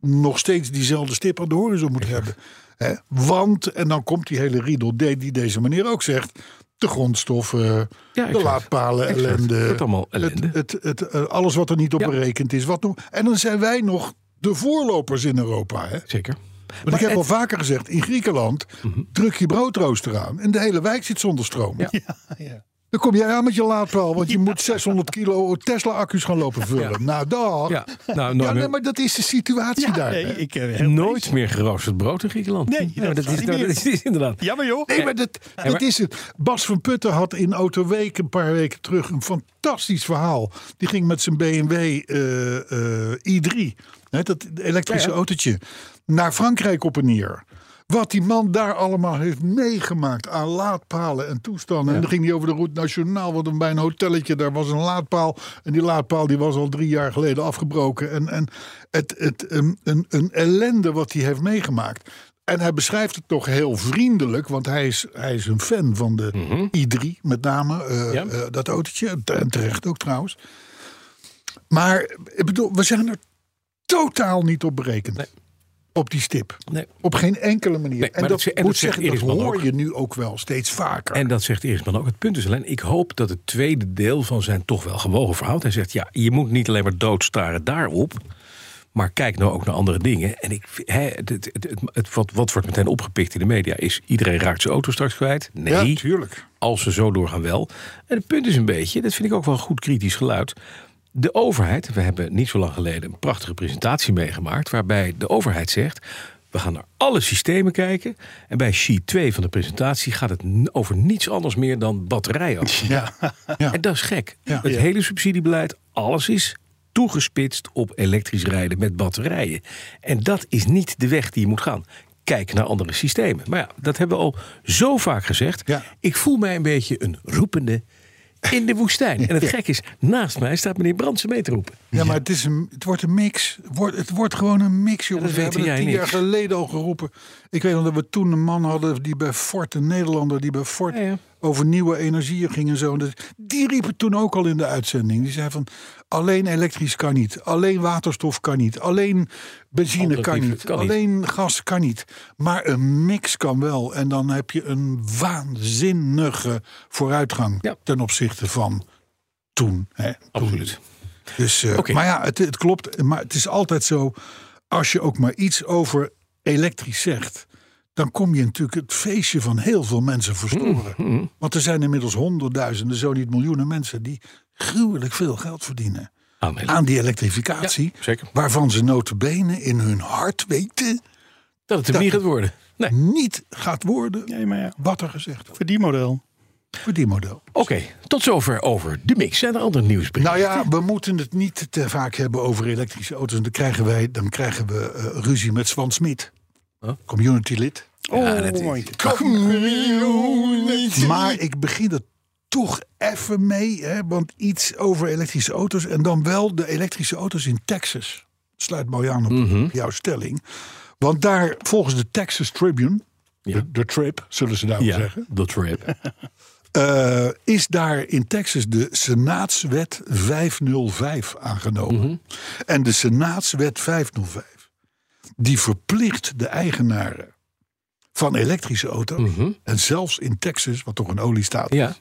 [SPEAKER 2] nog steeds diezelfde stip aan de horizon moet hebben. Hè? want, en dan komt die hele riedel D die deze meneer ook zegt... de grondstoffen, de
[SPEAKER 3] exact.
[SPEAKER 2] laadpalen,
[SPEAKER 3] Exact.
[SPEAKER 2] ellende.
[SPEAKER 3] Dat allemaal ellende.
[SPEAKER 2] Het, het, het, eh, alles wat er niet op
[SPEAKER 3] Ja.
[SPEAKER 2] berekend is. Wat nog, en dan zijn wij nog de voorlopers in Europa. Hè?
[SPEAKER 3] Zeker.
[SPEAKER 2] Want ik heb
[SPEAKER 3] het- Mhm.
[SPEAKER 2] al vaker gezegd, in Griekenland druk je broodrooster aan... en de hele wijk zit zonder stroom. <laughs>
[SPEAKER 3] Ja.
[SPEAKER 4] ja.
[SPEAKER 2] Dan kom jij aan met je laadpaal, want je moet 600 kilo Tesla-accu's gaan lopen vullen. Nou, dag. Ja.
[SPEAKER 3] Ja, nou, nooit,
[SPEAKER 2] nee,
[SPEAKER 3] meer,
[SPEAKER 2] maar dat is de situatie daar.
[SPEAKER 4] nee,
[SPEAKER 2] hè?
[SPEAKER 4] ik, eh, heel
[SPEAKER 3] nooit meer geroosterd brood in Grieland.
[SPEAKER 4] Nee,
[SPEAKER 3] Nou,
[SPEAKER 4] dat
[SPEAKER 3] dat,
[SPEAKER 4] gaat
[SPEAKER 3] is,
[SPEAKER 4] niet
[SPEAKER 3] nou,
[SPEAKER 4] meer.
[SPEAKER 3] dat is, is inderdaad.
[SPEAKER 4] Jammer joh.
[SPEAKER 2] Nee, maar dat, dat
[SPEAKER 3] maar-
[SPEAKER 2] is het. Bas van Putten had in Autoweek een paar weken terug een fantastisch verhaal. Die ging met zijn BMW eh, eh, i3, hè, dat elektrische autootje, naar Frankrijk op en neer. Wat die man daar allemaal heeft meegemaakt aan laadpalen en toestanden. En dan ging hij over de route nationaal, want een- bij een hotelletje daar was een laadpaal. En die laadpaal die was al drie jaar geleden afgebroken. En, en het, het, een, een, een ellende wat hij heeft meegemaakt. En hij beschrijft het toch heel vriendelijk, want hij is, hij is een fan van de i3 met name. eh,
[SPEAKER 3] Mhm. Ja.
[SPEAKER 2] eh, dat autootje, en te- en terecht ook trouwens. Maar ik bedoel, we zijn er totaal niet op berekend.
[SPEAKER 3] Nee.
[SPEAKER 2] Op die stip.
[SPEAKER 3] Nee.
[SPEAKER 2] Op geen enkele manier.
[SPEAKER 3] Nee,
[SPEAKER 2] en dat,
[SPEAKER 3] maar dat ze- en
[SPEAKER 2] moet
[SPEAKER 3] dat zegt
[SPEAKER 2] zeggen, dat
[SPEAKER 3] Iris Mann
[SPEAKER 2] hoor
[SPEAKER 3] ook.
[SPEAKER 2] je nu ook wel steeds vaker.
[SPEAKER 3] En dat zegt Eersman ook. Het punt is alleen, ik hoop dat het tweede deel van zijn toch wel gewogen verhaal. Hij zegt, ja, je moet niet alleen maar doodstaren daarop. Maar kijk nou ook naar andere dingen. En ik, vind- hè, het, het, het, het- het- wat, wat wordt meteen opgepikt in de media is... iedereen raakt zijn auto straks kwijt.
[SPEAKER 2] ja,
[SPEAKER 3] Nee,
[SPEAKER 2] natuurlijk.
[SPEAKER 3] als ze zo doorgaan wel. En het punt is een beetje, dat vind ik ook wel een goed kritisch geluid. De overheid, we hebben niet zo lang geleden een prachtige presentatie meegemaakt... waarbij de overheid zegt, we gaan naar alle systemen kijken... en bij sheet 2 van de presentatie gaat het n- over niets anders meer dan batterijen.
[SPEAKER 2] Ja.
[SPEAKER 3] En dat is gek.
[SPEAKER 2] Ja.
[SPEAKER 3] Het
[SPEAKER 2] Ja.
[SPEAKER 3] hele subsidiebeleid, alles is toegespitst op elektrisch rijden met batterijen. En dat is niet de weg die je moet gaan. Kijk naar andere systemen. Maar ja, dat hebben we al zo vaak gezegd.
[SPEAKER 2] Ja.
[SPEAKER 3] Ik voel mij een beetje een roepende in de woestijn. En het gek is, naast mij staat meneer Brandsen mee te roepen.
[SPEAKER 2] Ja, maar het, is een, het wordt een mix. Het wordt, het wordt gewoon een mix, jongens.
[SPEAKER 3] dat
[SPEAKER 2] we
[SPEAKER 3] weet
[SPEAKER 2] hebben het tien
[SPEAKER 3] jij niet.
[SPEAKER 2] jaar geleden al geroepen. Ik weet nog dat we toen een man hadden die bij Ford, een Nederlander die bij Ford
[SPEAKER 3] Ja, ja.
[SPEAKER 2] over nieuwe energieën ging en zo. En dat- Die riep het toen ook al in de uitzending. Die zei van, alleen elektrisch kan niet. Alleen waterstof kan niet. Alleen benzine kan
[SPEAKER 3] Alternatieven
[SPEAKER 2] niet.
[SPEAKER 3] kan niet.
[SPEAKER 2] alleen gas kan niet. Maar een mix kan wel. En dan heb je een waanzinnige vooruitgang
[SPEAKER 3] Ja.
[SPEAKER 2] ten opzichte van toen. Hè?
[SPEAKER 3] Absoluut.
[SPEAKER 2] Dus, eh,
[SPEAKER 3] Oké.
[SPEAKER 2] Maar ja, het, het klopt. Maar het is altijd zo, als je ook maar iets over elektrisch zegt... dan kom je natuurlijk het feestje van heel veel mensen verstoren.
[SPEAKER 3] Mm,
[SPEAKER 2] Want er zijn inmiddels honderdduizenden, zo niet miljoenen mensen... die gruwelijk veel geld verdienen
[SPEAKER 3] Aanmelden.
[SPEAKER 2] aan die elektrificatie.
[SPEAKER 3] Ja, zeker.
[SPEAKER 2] Waarvan ze notabene in hun hart weten
[SPEAKER 3] Dat het hem
[SPEAKER 2] Dat-
[SPEAKER 3] niet gaat worden. Nee.
[SPEAKER 2] Mm. niet gaat worden...
[SPEAKER 4] Nee, maar ja.
[SPEAKER 2] Wat er gezegd wordt
[SPEAKER 4] Voor die model.
[SPEAKER 2] voor die model.
[SPEAKER 3] Oké, tot zover over de mix. Zijn er andere nieuwsbrieven?
[SPEAKER 2] Nou ja, we moeten het niet te vaak hebben over elektrische auto's. Dan krijgen, wij, dan krijgen we eh, ruzie met Swan Smit.
[SPEAKER 3] Huh?
[SPEAKER 2] Community lid.
[SPEAKER 3] Ja, dat
[SPEAKER 4] Oh,
[SPEAKER 3] is-
[SPEAKER 4] mooi.
[SPEAKER 2] ah, Maar ik begin er toch even mee. Hè, want iets over elektrische auto's. En dan wel de elektrische auto's in Texas. Sluit mooi aan op
[SPEAKER 3] Mhm.
[SPEAKER 2] jouw stelling. Want daar, volgens de Texas Tribune. De, de Trip, zullen ze daarom
[SPEAKER 3] ja,
[SPEAKER 2] zeggen.
[SPEAKER 3] de trip.
[SPEAKER 2] Eh, is daar in Texas de Senaatswet 505 aangenomen. En de Senaatswet 505 die verplicht de eigenaren van elektrische auto's en zelfs in Texas, wat toch een oliestaat is,
[SPEAKER 3] Ja.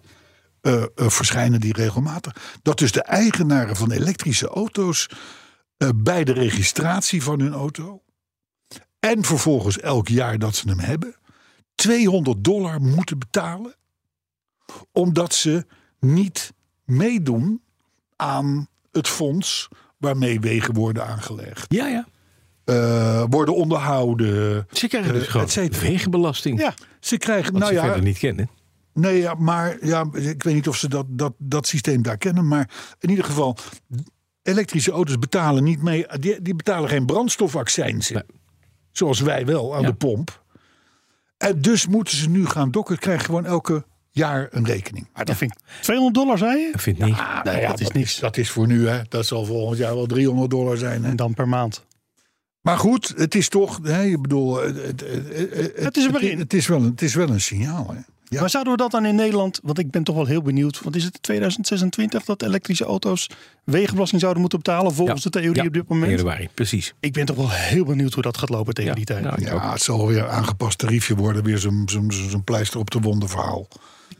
[SPEAKER 2] eh, eh, verschijnen die regelmatig. Dat dus de eigenaren van elektrische auto's eh, bij de registratie van hun auto en vervolgens elk jaar dat ze hem hebben 200 dollar moeten betalen omdat ze niet meedoen aan het fonds waarmee wegen worden aangelegd,
[SPEAKER 3] ja, ja.
[SPEAKER 2] eh, worden onderhouden.
[SPEAKER 3] Ze krijgen dus
[SPEAKER 2] Eh,
[SPEAKER 3] gewoon
[SPEAKER 2] et cetera.
[SPEAKER 3] wegenbelasting.
[SPEAKER 4] Ja.
[SPEAKER 2] Ze krijgen,
[SPEAKER 3] Wat
[SPEAKER 2] nou
[SPEAKER 3] ze
[SPEAKER 2] ja,
[SPEAKER 3] verder niet kennen.
[SPEAKER 2] Nee, ja, maar ja, ik weet niet of ze dat, dat, dat systeem daar kennen. Maar in ieder geval, elektrische auto's betalen niet mee. Die, die betalen geen brandstofaccijns. in,
[SPEAKER 3] Nee.
[SPEAKER 2] Zoals wij wel aan
[SPEAKER 3] Ja.
[SPEAKER 2] de pomp. En dus moeten ze nu gaan dokken. Krijgen gewoon elke jaar een rekening.
[SPEAKER 4] Maar dat vind ik 200 dollar, zei je?
[SPEAKER 3] Ik vind niet.
[SPEAKER 2] Nou ja,
[SPEAKER 4] dat is niks.
[SPEAKER 2] Dat is voor nu, hè. Dat zal volgend jaar wel 300 dollar zijn. Hè.
[SPEAKER 4] En dan per maand.
[SPEAKER 2] Maar goed, het is toch... Hè, ik bedoel, eh, het, het- het-
[SPEAKER 4] Het is er maar
[SPEAKER 2] het-
[SPEAKER 4] in.
[SPEAKER 2] Het is wel, een- het is wel een signaal, hè. Ja.
[SPEAKER 4] Maar zouden we dat dan in Nederland, want ik ben toch wel heel benieuwd, want is het 2026 dat elektrische auto's wegenbelasting zouden moeten betalen volgens de theorie
[SPEAKER 3] Ja,
[SPEAKER 4] op dit moment?
[SPEAKER 3] Januari, precies.
[SPEAKER 4] Ik ben toch wel heel benieuwd hoe dat gaat lopen tegen
[SPEAKER 3] Ja,
[SPEAKER 4] die tijd.
[SPEAKER 3] nou, ik ook.
[SPEAKER 2] Ja, het zal weer een aangepast tariefje worden. Weer zo'n zo'n- zo'n pleister op de wonden verhaal.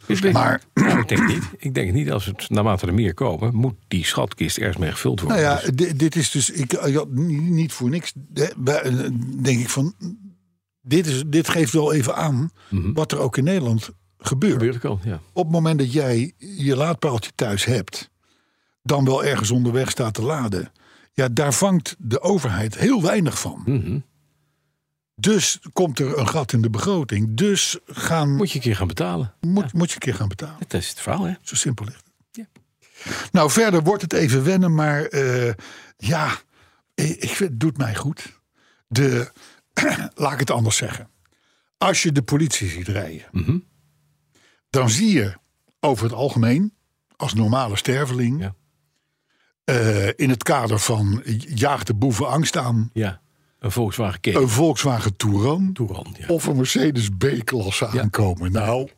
[SPEAKER 3] Ik denk-
[SPEAKER 2] Maar-
[SPEAKER 3] Nou, <clears throat> ik denk het niet. Ik denk het niet. Als het naarmate er meer komen, moet die schatkist ergens mee gevuld worden.
[SPEAKER 2] Nou ja,
[SPEAKER 3] Dus-
[SPEAKER 2] di- dit is dus... Ik ik had ni- niet voor niks... hè, bij- eh, Denk ik van... Dit, is, dit geeft wel even aan wat er ook in Nederland gebeurt.
[SPEAKER 3] gebeurt ook al. Ja.
[SPEAKER 2] Op het moment dat jij je laadpaaltje thuis hebt... dan wel ergens onderweg staat te laden... ja, daar vangt de overheid heel weinig van.
[SPEAKER 3] Mhm.
[SPEAKER 2] Dus komt er een gat in de begroting. Dus gaan, moet,
[SPEAKER 3] Moet je een keer gaan betalen.
[SPEAKER 2] moet, je een keer gaan betalen.
[SPEAKER 3] Dat is het verhaal, hè?
[SPEAKER 2] Zo simpel ligt het.
[SPEAKER 3] Ja.
[SPEAKER 2] Nou, verder wordt het even wennen, maar eh, ja, eh, ik, vind- het doet mij goed. De, <clears throat> laat ik het anders zeggen. Als je de politie ziet rijden,
[SPEAKER 3] Mhm.
[SPEAKER 2] dan zie je over het algemeen, als normale sterveling,
[SPEAKER 3] Ja.
[SPEAKER 2] eh, in het kader van jaag de boeven angst aan,
[SPEAKER 3] Ja. Een Volkswagen Kees.
[SPEAKER 2] een Volkswagen Touran,
[SPEAKER 3] Touran, ja.
[SPEAKER 2] of een Mercedes B-klasse aankomen. Nou,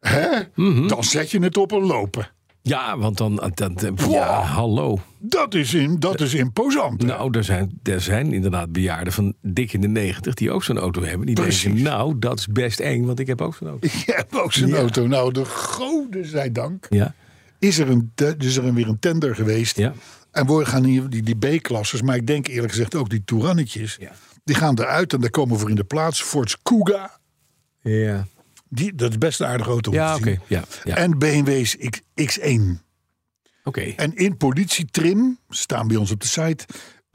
[SPEAKER 2] hè?
[SPEAKER 3] Mhm.
[SPEAKER 2] dan zet je het op een lopen.
[SPEAKER 3] Ja, want dan... eh, dan- dan- ja, hallo.
[SPEAKER 2] Dat is, in, dat is imposant. <laughs> hè?
[SPEAKER 3] Nou, er zijn, er zijn inderdaad bejaarden van dik in de negentig... die ook zo'n auto hebben. Die
[SPEAKER 2] Precies.
[SPEAKER 3] denken, nou, dat is best eng, want ik heb ook zo'n auto.
[SPEAKER 2] Je hebt ook zo'n auto. Nou, de goden zij dank.
[SPEAKER 3] Ja,
[SPEAKER 2] Is er, een, te- dus is er een, weer een tender geweest.
[SPEAKER 3] ja.
[SPEAKER 2] En we gaan hier die, die B-klassers, maar ik denk eerlijk gezegd ook die Tourannetjes.
[SPEAKER 3] Ja.
[SPEAKER 2] Die gaan eruit en daar komen voor in de plaats. Ford's Kuga.
[SPEAKER 3] Ja,
[SPEAKER 2] Die, dat is best een aardige auto om
[SPEAKER 3] ja
[SPEAKER 2] te
[SPEAKER 3] oké.
[SPEAKER 2] zien.
[SPEAKER 3] Ja, ja.
[SPEAKER 2] En BMW's X, X1.
[SPEAKER 3] Oké.
[SPEAKER 2] En in politietrim, staan bij ons op de site,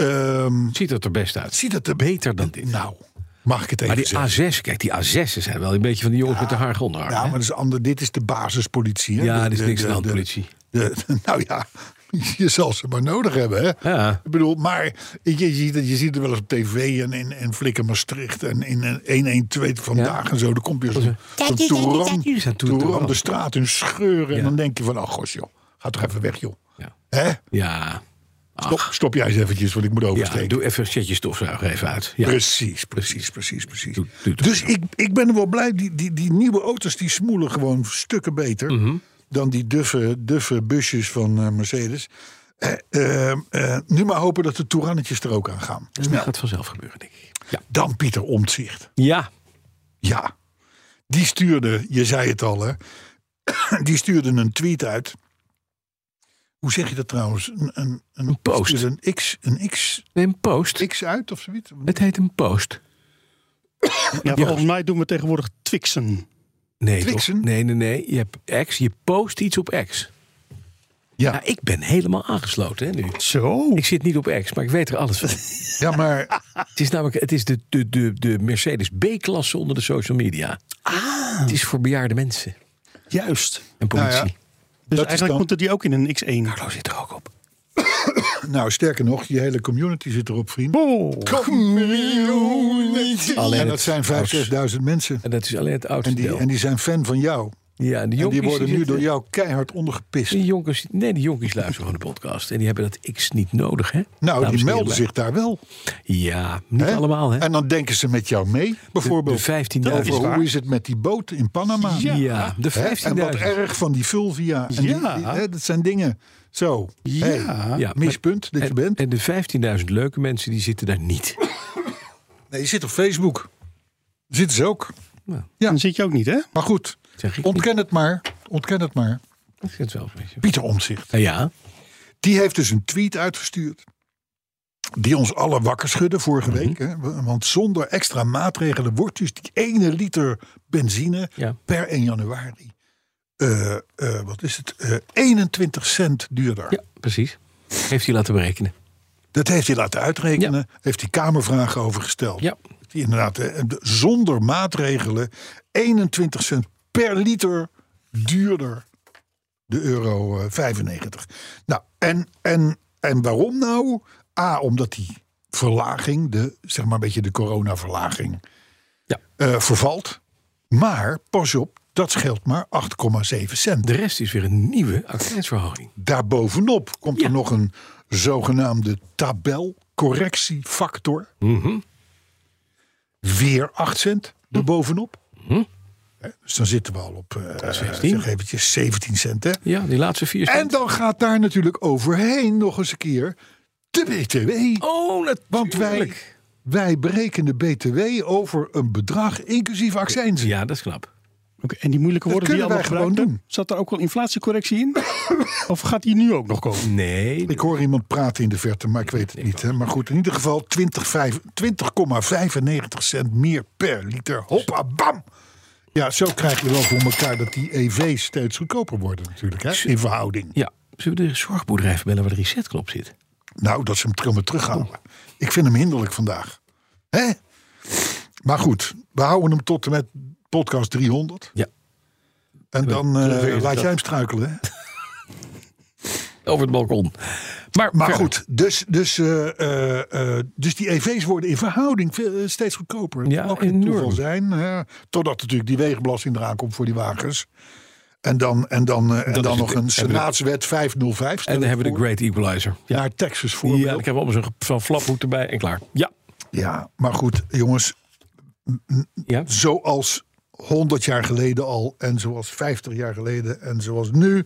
[SPEAKER 2] ehm,
[SPEAKER 3] Ziet het er best uit.
[SPEAKER 2] ziet het er
[SPEAKER 3] Beter dan dit.
[SPEAKER 2] Nou, mag ik het even
[SPEAKER 3] Maar die
[SPEAKER 2] zeggen?
[SPEAKER 3] A6, kijk, die A6'en zijn wel een beetje van die jongens met de haar onderarm.
[SPEAKER 2] Ja,
[SPEAKER 3] hè?
[SPEAKER 2] maar dat is ander, dit is de basispolitie. Hè?
[SPEAKER 3] Ja,
[SPEAKER 2] De-
[SPEAKER 3] dit is
[SPEAKER 2] de-
[SPEAKER 3] niks
[SPEAKER 2] de-
[SPEAKER 3] aan de hand,
[SPEAKER 2] de-
[SPEAKER 3] politie.
[SPEAKER 2] de- nou ja, <laughs> je zal ze maar nodig hebben. Hè?
[SPEAKER 3] Ja.
[SPEAKER 2] Ik bedoel, maar je, je, ziet het- je ziet het wel eens op tv en in, in Flikker Maastricht en in eh, een 112 vandaag en zo. Dan komt je zo'n zo'n toeran,
[SPEAKER 3] hier staat Touran.
[SPEAKER 2] toeran de straat in scheuren.
[SPEAKER 3] oh. Ja.
[SPEAKER 2] En dan denk je van, ach gosh joh, ga toch even weg joh.
[SPEAKER 3] Ja.
[SPEAKER 2] Hè?
[SPEAKER 3] Ja.
[SPEAKER 2] Stop, stop jij eens eventjes, want ik moet
[SPEAKER 3] Ja,
[SPEAKER 2] oversteken.
[SPEAKER 3] doe even, zet je stofzuiger even uit. Ja.
[SPEAKER 2] Precies, precies, precies, precies.
[SPEAKER 3] Doe- doe het
[SPEAKER 2] dus ik, ik ben er wel blij. Die, die, die nieuwe auto's die smoelen gewoon stukken beter
[SPEAKER 3] Mhm.
[SPEAKER 2] dan die duffe, duffe busjes van eh, Mercedes. Eh, eh, eh, nu maar hopen dat de Tourannetjes er ook aan gaan. Nou,
[SPEAKER 3] Dat gaat vanzelf gebeuren, denk ik. Ja.
[SPEAKER 2] Dan Pieter Omtzigt.
[SPEAKER 3] Ja.
[SPEAKER 2] Ja, die stuurde, je zei het al hè, <clears throat> die stuurde een tweet uit. Hoe zeg je dat trouwens? Een, een, een,
[SPEAKER 3] post.
[SPEAKER 2] stuurde Een X, een X,
[SPEAKER 3] Nee, een post.
[SPEAKER 2] X uit of zoiets?
[SPEAKER 3] Het heet een post.
[SPEAKER 4] Ja, volgens mij doen we tegenwoordig twixen.
[SPEAKER 3] Nee, toch?
[SPEAKER 2] Twixen?
[SPEAKER 3] Nee, nee, nee. Je hebt X. Je post iets op X.
[SPEAKER 2] Ja.
[SPEAKER 3] Nou, ik ben helemaal aangesloten hè, nu.
[SPEAKER 4] Zo.
[SPEAKER 3] Ik zit niet op X, maar ik weet er
[SPEAKER 2] <laughs>
[SPEAKER 3] alles van.
[SPEAKER 2] Ja, maar
[SPEAKER 3] het is namelijk het is de, de, de, de Mercedes B-klasse onder de social media. Ah. Het is voor bejaarde mensen
[SPEAKER 4] Juist.
[SPEAKER 3] en politie.
[SPEAKER 2] Nou ja.
[SPEAKER 4] Dus
[SPEAKER 2] is
[SPEAKER 4] eigenlijk
[SPEAKER 2] dan-
[SPEAKER 4] moeten die ook in een X1.
[SPEAKER 3] Carlo zit er ook op.
[SPEAKER 2] Nou, sterker nog, je hele community zit erop, vriend.
[SPEAKER 4] Oh.
[SPEAKER 2] Community.
[SPEAKER 3] Alleen
[SPEAKER 2] en dat zijn
[SPEAKER 3] het huis.
[SPEAKER 2] 5.000, 6.000 mensen.
[SPEAKER 3] En dat is alleen het
[SPEAKER 2] En
[SPEAKER 3] oudste
[SPEAKER 2] die,
[SPEAKER 3] deel.
[SPEAKER 2] en die zijn fan van jou.
[SPEAKER 3] ja,
[SPEAKER 2] En
[SPEAKER 3] en die,
[SPEAKER 2] die
[SPEAKER 3] jonkies
[SPEAKER 2] worden nu
[SPEAKER 3] zitten-
[SPEAKER 2] door jou keihard ondergepist.
[SPEAKER 3] Die jonkies, nee, die jonkies luisteren gewoon de podcast. En die hebben dat X niet nodig, hè?
[SPEAKER 2] Nou,
[SPEAKER 3] Dames
[SPEAKER 2] die
[SPEAKER 3] en
[SPEAKER 2] melden
[SPEAKER 3] heren.
[SPEAKER 2] zich daar wel.
[SPEAKER 3] Ja, niet
[SPEAKER 2] hè?
[SPEAKER 3] allemaal, hè?
[SPEAKER 2] En dan denken ze met jou mee, bijvoorbeeld.
[SPEAKER 3] de 15.000
[SPEAKER 2] over
[SPEAKER 3] is waar.
[SPEAKER 2] hoe is het met die boot in Panama.
[SPEAKER 3] ja, de
[SPEAKER 2] Hè? En wat
[SPEAKER 3] 15.000.
[SPEAKER 2] erg van die Fulvia. En die-
[SPEAKER 4] Ja.
[SPEAKER 2] die- hè, dat zijn dingen. Zo, hey,
[SPEAKER 3] Ja,
[SPEAKER 2] mispunt dat je
[SPEAKER 3] en,
[SPEAKER 2] bent.
[SPEAKER 3] en de 15.000 leuke mensen, die zitten daar
[SPEAKER 2] <laughs>
[SPEAKER 3] niet.
[SPEAKER 2] Nee, je zit op Facebook. Zitten ze ook.
[SPEAKER 4] Dan zit je ook niet, hè?
[SPEAKER 2] Maar goed,
[SPEAKER 3] Zeg ik
[SPEAKER 2] ontken het maar. Ontken het maar.
[SPEAKER 3] niet. Ik vind het wel een beetje...
[SPEAKER 2] Pieter Omtzigt.
[SPEAKER 3] Nou ja,
[SPEAKER 2] Die heeft dus een tweet uitgestuurd. Die ons alle wakker schudde vorige week. Hè? Want zonder extra maatregelen wordt dus die ene liter benzine
[SPEAKER 3] Ja.
[SPEAKER 2] per 1 januari. eh, eh, wat is het? eh, 21 cent duurder.
[SPEAKER 3] ja, precies. Heeft hij laten berekenen.
[SPEAKER 2] Dat heeft hij laten uitrekenen. Heeft hij Kamervragen over gesteld.
[SPEAKER 3] Ja.
[SPEAKER 2] Die inderdaad, hè, de- zonder maatregelen 21 cent per liter duurder de euro eh, 95. Nou, en, en, en waarom nou? A, omdat die verlaging, de, zeg maar een beetje de coronaverlaging,
[SPEAKER 3] Ja.
[SPEAKER 2] eh, vervalt. Maar pas op, dat scheelt maar 8,7 cent.
[SPEAKER 3] De rest is weer een nieuwe accijnsverhoging.
[SPEAKER 2] Daarbovenop komt
[SPEAKER 3] Ja.
[SPEAKER 2] er nog een zogenaamde tabelcorrectiefactor.
[SPEAKER 3] Mhm.
[SPEAKER 2] Weer 8 cent erbovenop.
[SPEAKER 3] Mhm.
[SPEAKER 2] Hè, Dus dan zitten we al op eh
[SPEAKER 3] 16.
[SPEAKER 2] zeg eventjes 17 cent. Hè?
[SPEAKER 3] Ja, die laatste vier
[SPEAKER 2] En
[SPEAKER 3] cent.
[SPEAKER 2] dan gaat daar natuurlijk overheen nog eens een keer de BTW.
[SPEAKER 3] Oh, natuurlijk.
[SPEAKER 2] Want wij, wij berekenen BTW over een bedrag inclusief accijns.
[SPEAKER 3] Ja, dat is knap.
[SPEAKER 4] Oké, en die moeilijke
[SPEAKER 2] Dat
[SPEAKER 4] woorden die je
[SPEAKER 2] kunnen
[SPEAKER 4] allemaal
[SPEAKER 2] wij
[SPEAKER 4] gebruikt
[SPEAKER 2] gewoon
[SPEAKER 4] hebt, zat er ook wel inflatiecorrectie
[SPEAKER 2] <laughs>
[SPEAKER 4] in? of gaat die nu ook nog komen?
[SPEAKER 3] Nee.
[SPEAKER 2] Ik hoor iemand praten in de verte, maar ik weet het niet. Hè. Maar goed, in ieder geval 20 vijf- 20,95 cent meer per liter. Hoppa, bam! Ja, zo krijg je wel voor elkaar dat die EV's steeds goedkoper worden natuurlijk, hè, in verhouding.
[SPEAKER 3] Ja. Zullen we de zorgbedrijf bellen waar de resetknop zit?
[SPEAKER 2] Nou, dat ze hem kunnen terughalen. Ik vind hem hinderlijk vandaag. Hè? Maar goed, we houden hem tot en met podcast 300.
[SPEAKER 3] Ja.
[SPEAKER 2] En dan eh,
[SPEAKER 3] terugweren
[SPEAKER 2] laat
[SPEAKER 3] dat.
[SPEAKER 2] jij hem struikelen, hè?
[SPEAKER 3] Over het balkon. Maar,
[SPEAKER 2] Maar
[SPEAKER 3] verder.
[SPEAKER 2] goed, dus, dus, eh, eh, eh, dus die EV's worden in verhouding veel- eh, steeds goedkoper. Het
[SPEAKER 3] Ja,
[SPEAKER 2] mag geen
[SPEAKER 3] enorm.
[SPEAKER 2] toeval zijn. hè. totdat natuurlijk die wegenbelasting eraan komt voor die wagens. En dan, en dan, eh, en
[SPEAKER 3] Dat
[SPEAKER 2] dan
[SPEAKER 3] is
[SPEAKER 2] nog
[SPEAKER 3] het.
[SPEAKER 2] een
[SPEAKER 3] Hebben we-
[SPEAKER 2] Senaatswet 505.
[SPEAKER 3] En dan hebben we de Great Equalizer.
[SPEAKER 2] ja. Naar Texas voor.
[SPEAKER 3] Ja, ik heb allemaal zo'n zo'n flaphoed erbij en klaar. Ja.
[SPEAKER 2] ja, maar goed, jongens.
[SPEAKER 3] Ja.
[SPEAKER 2] zoals 100 jaar geleden al en zoals 50 jaar geleden en zoals nu.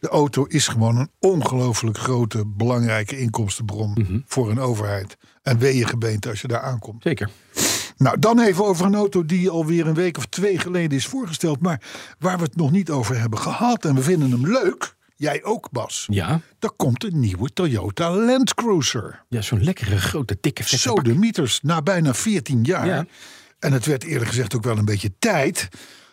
[SPEAKER 2] De auto is gewoon een ongelooflijk grote, belangrijke inkomstenbron
[SPEAKER 3] Mhm.
[SPEAKER 2] voor een overheid. En wee je gebeente als je daar aankomt.
[SPEAKER 3] Zeker.
[SPEAKER 2] Nou, dan even over een auto die alweer een week of twee geleden is voorgesteld. Maar waar we het nog niet over hebben gehad. En we vinden hem leuk. Jij ook, Bas.
[SPEAKER 3] Ja.
[SPEAKER 2] Daar komt een nieuwe Toyota Land Cruiser.
[SPEAKER 3] Ja, zo'n lekkere, grote, dikke, vette
[SPEAKER 2] Zo
[SPEAKER 3] bak.
[SPEAKER 2] de mieters, na bijna 14 jaar.
[SPEAKER 3] Ja.
[SPEAKER 2] En het werd eerlijk gezegd ook wel een beetje tijd.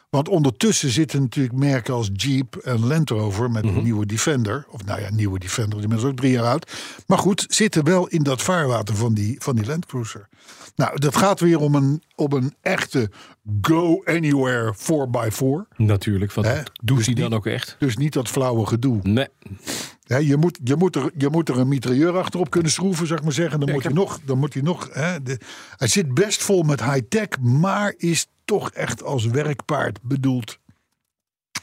[SPEAKER 2] Want ondertussen zitten natuurlijk merken als Jeep en Land Rover met een nieuwe Defender. Of nou ja, nieuwe Defender, die inmiddels ook drie jaar oud. Maar goed, zitten wel in dat vaarwater van die, van die Land Cruiser. Nou, dat gaat weer om een, om een echte go anywhere 4x4.
[SPEAKER 3] Natuurlijk, want
[SPEAKER 2] Hè?
[SPEAKER 3] dat doet
[SPEAKER 2] Dus
[SPEAKER 3] hij dan
[SPEAKER 2] niet-
[SPEAKER 3] ook echt?
[SPEAKER 2] Dus niet dat flauwe gedoe.
[SPEAKER 3] Nee.
[SPEAKER 2] Hè, je, moet, je, moet er, je moet er een mitrailleur achterop kunnen schroeven, zeg maar zeggen. Dan moet hij nog. Dan moet hij, nog hè, de- hij zit best vol met high-tech, maar is toch echt als werkpaard bedoeld.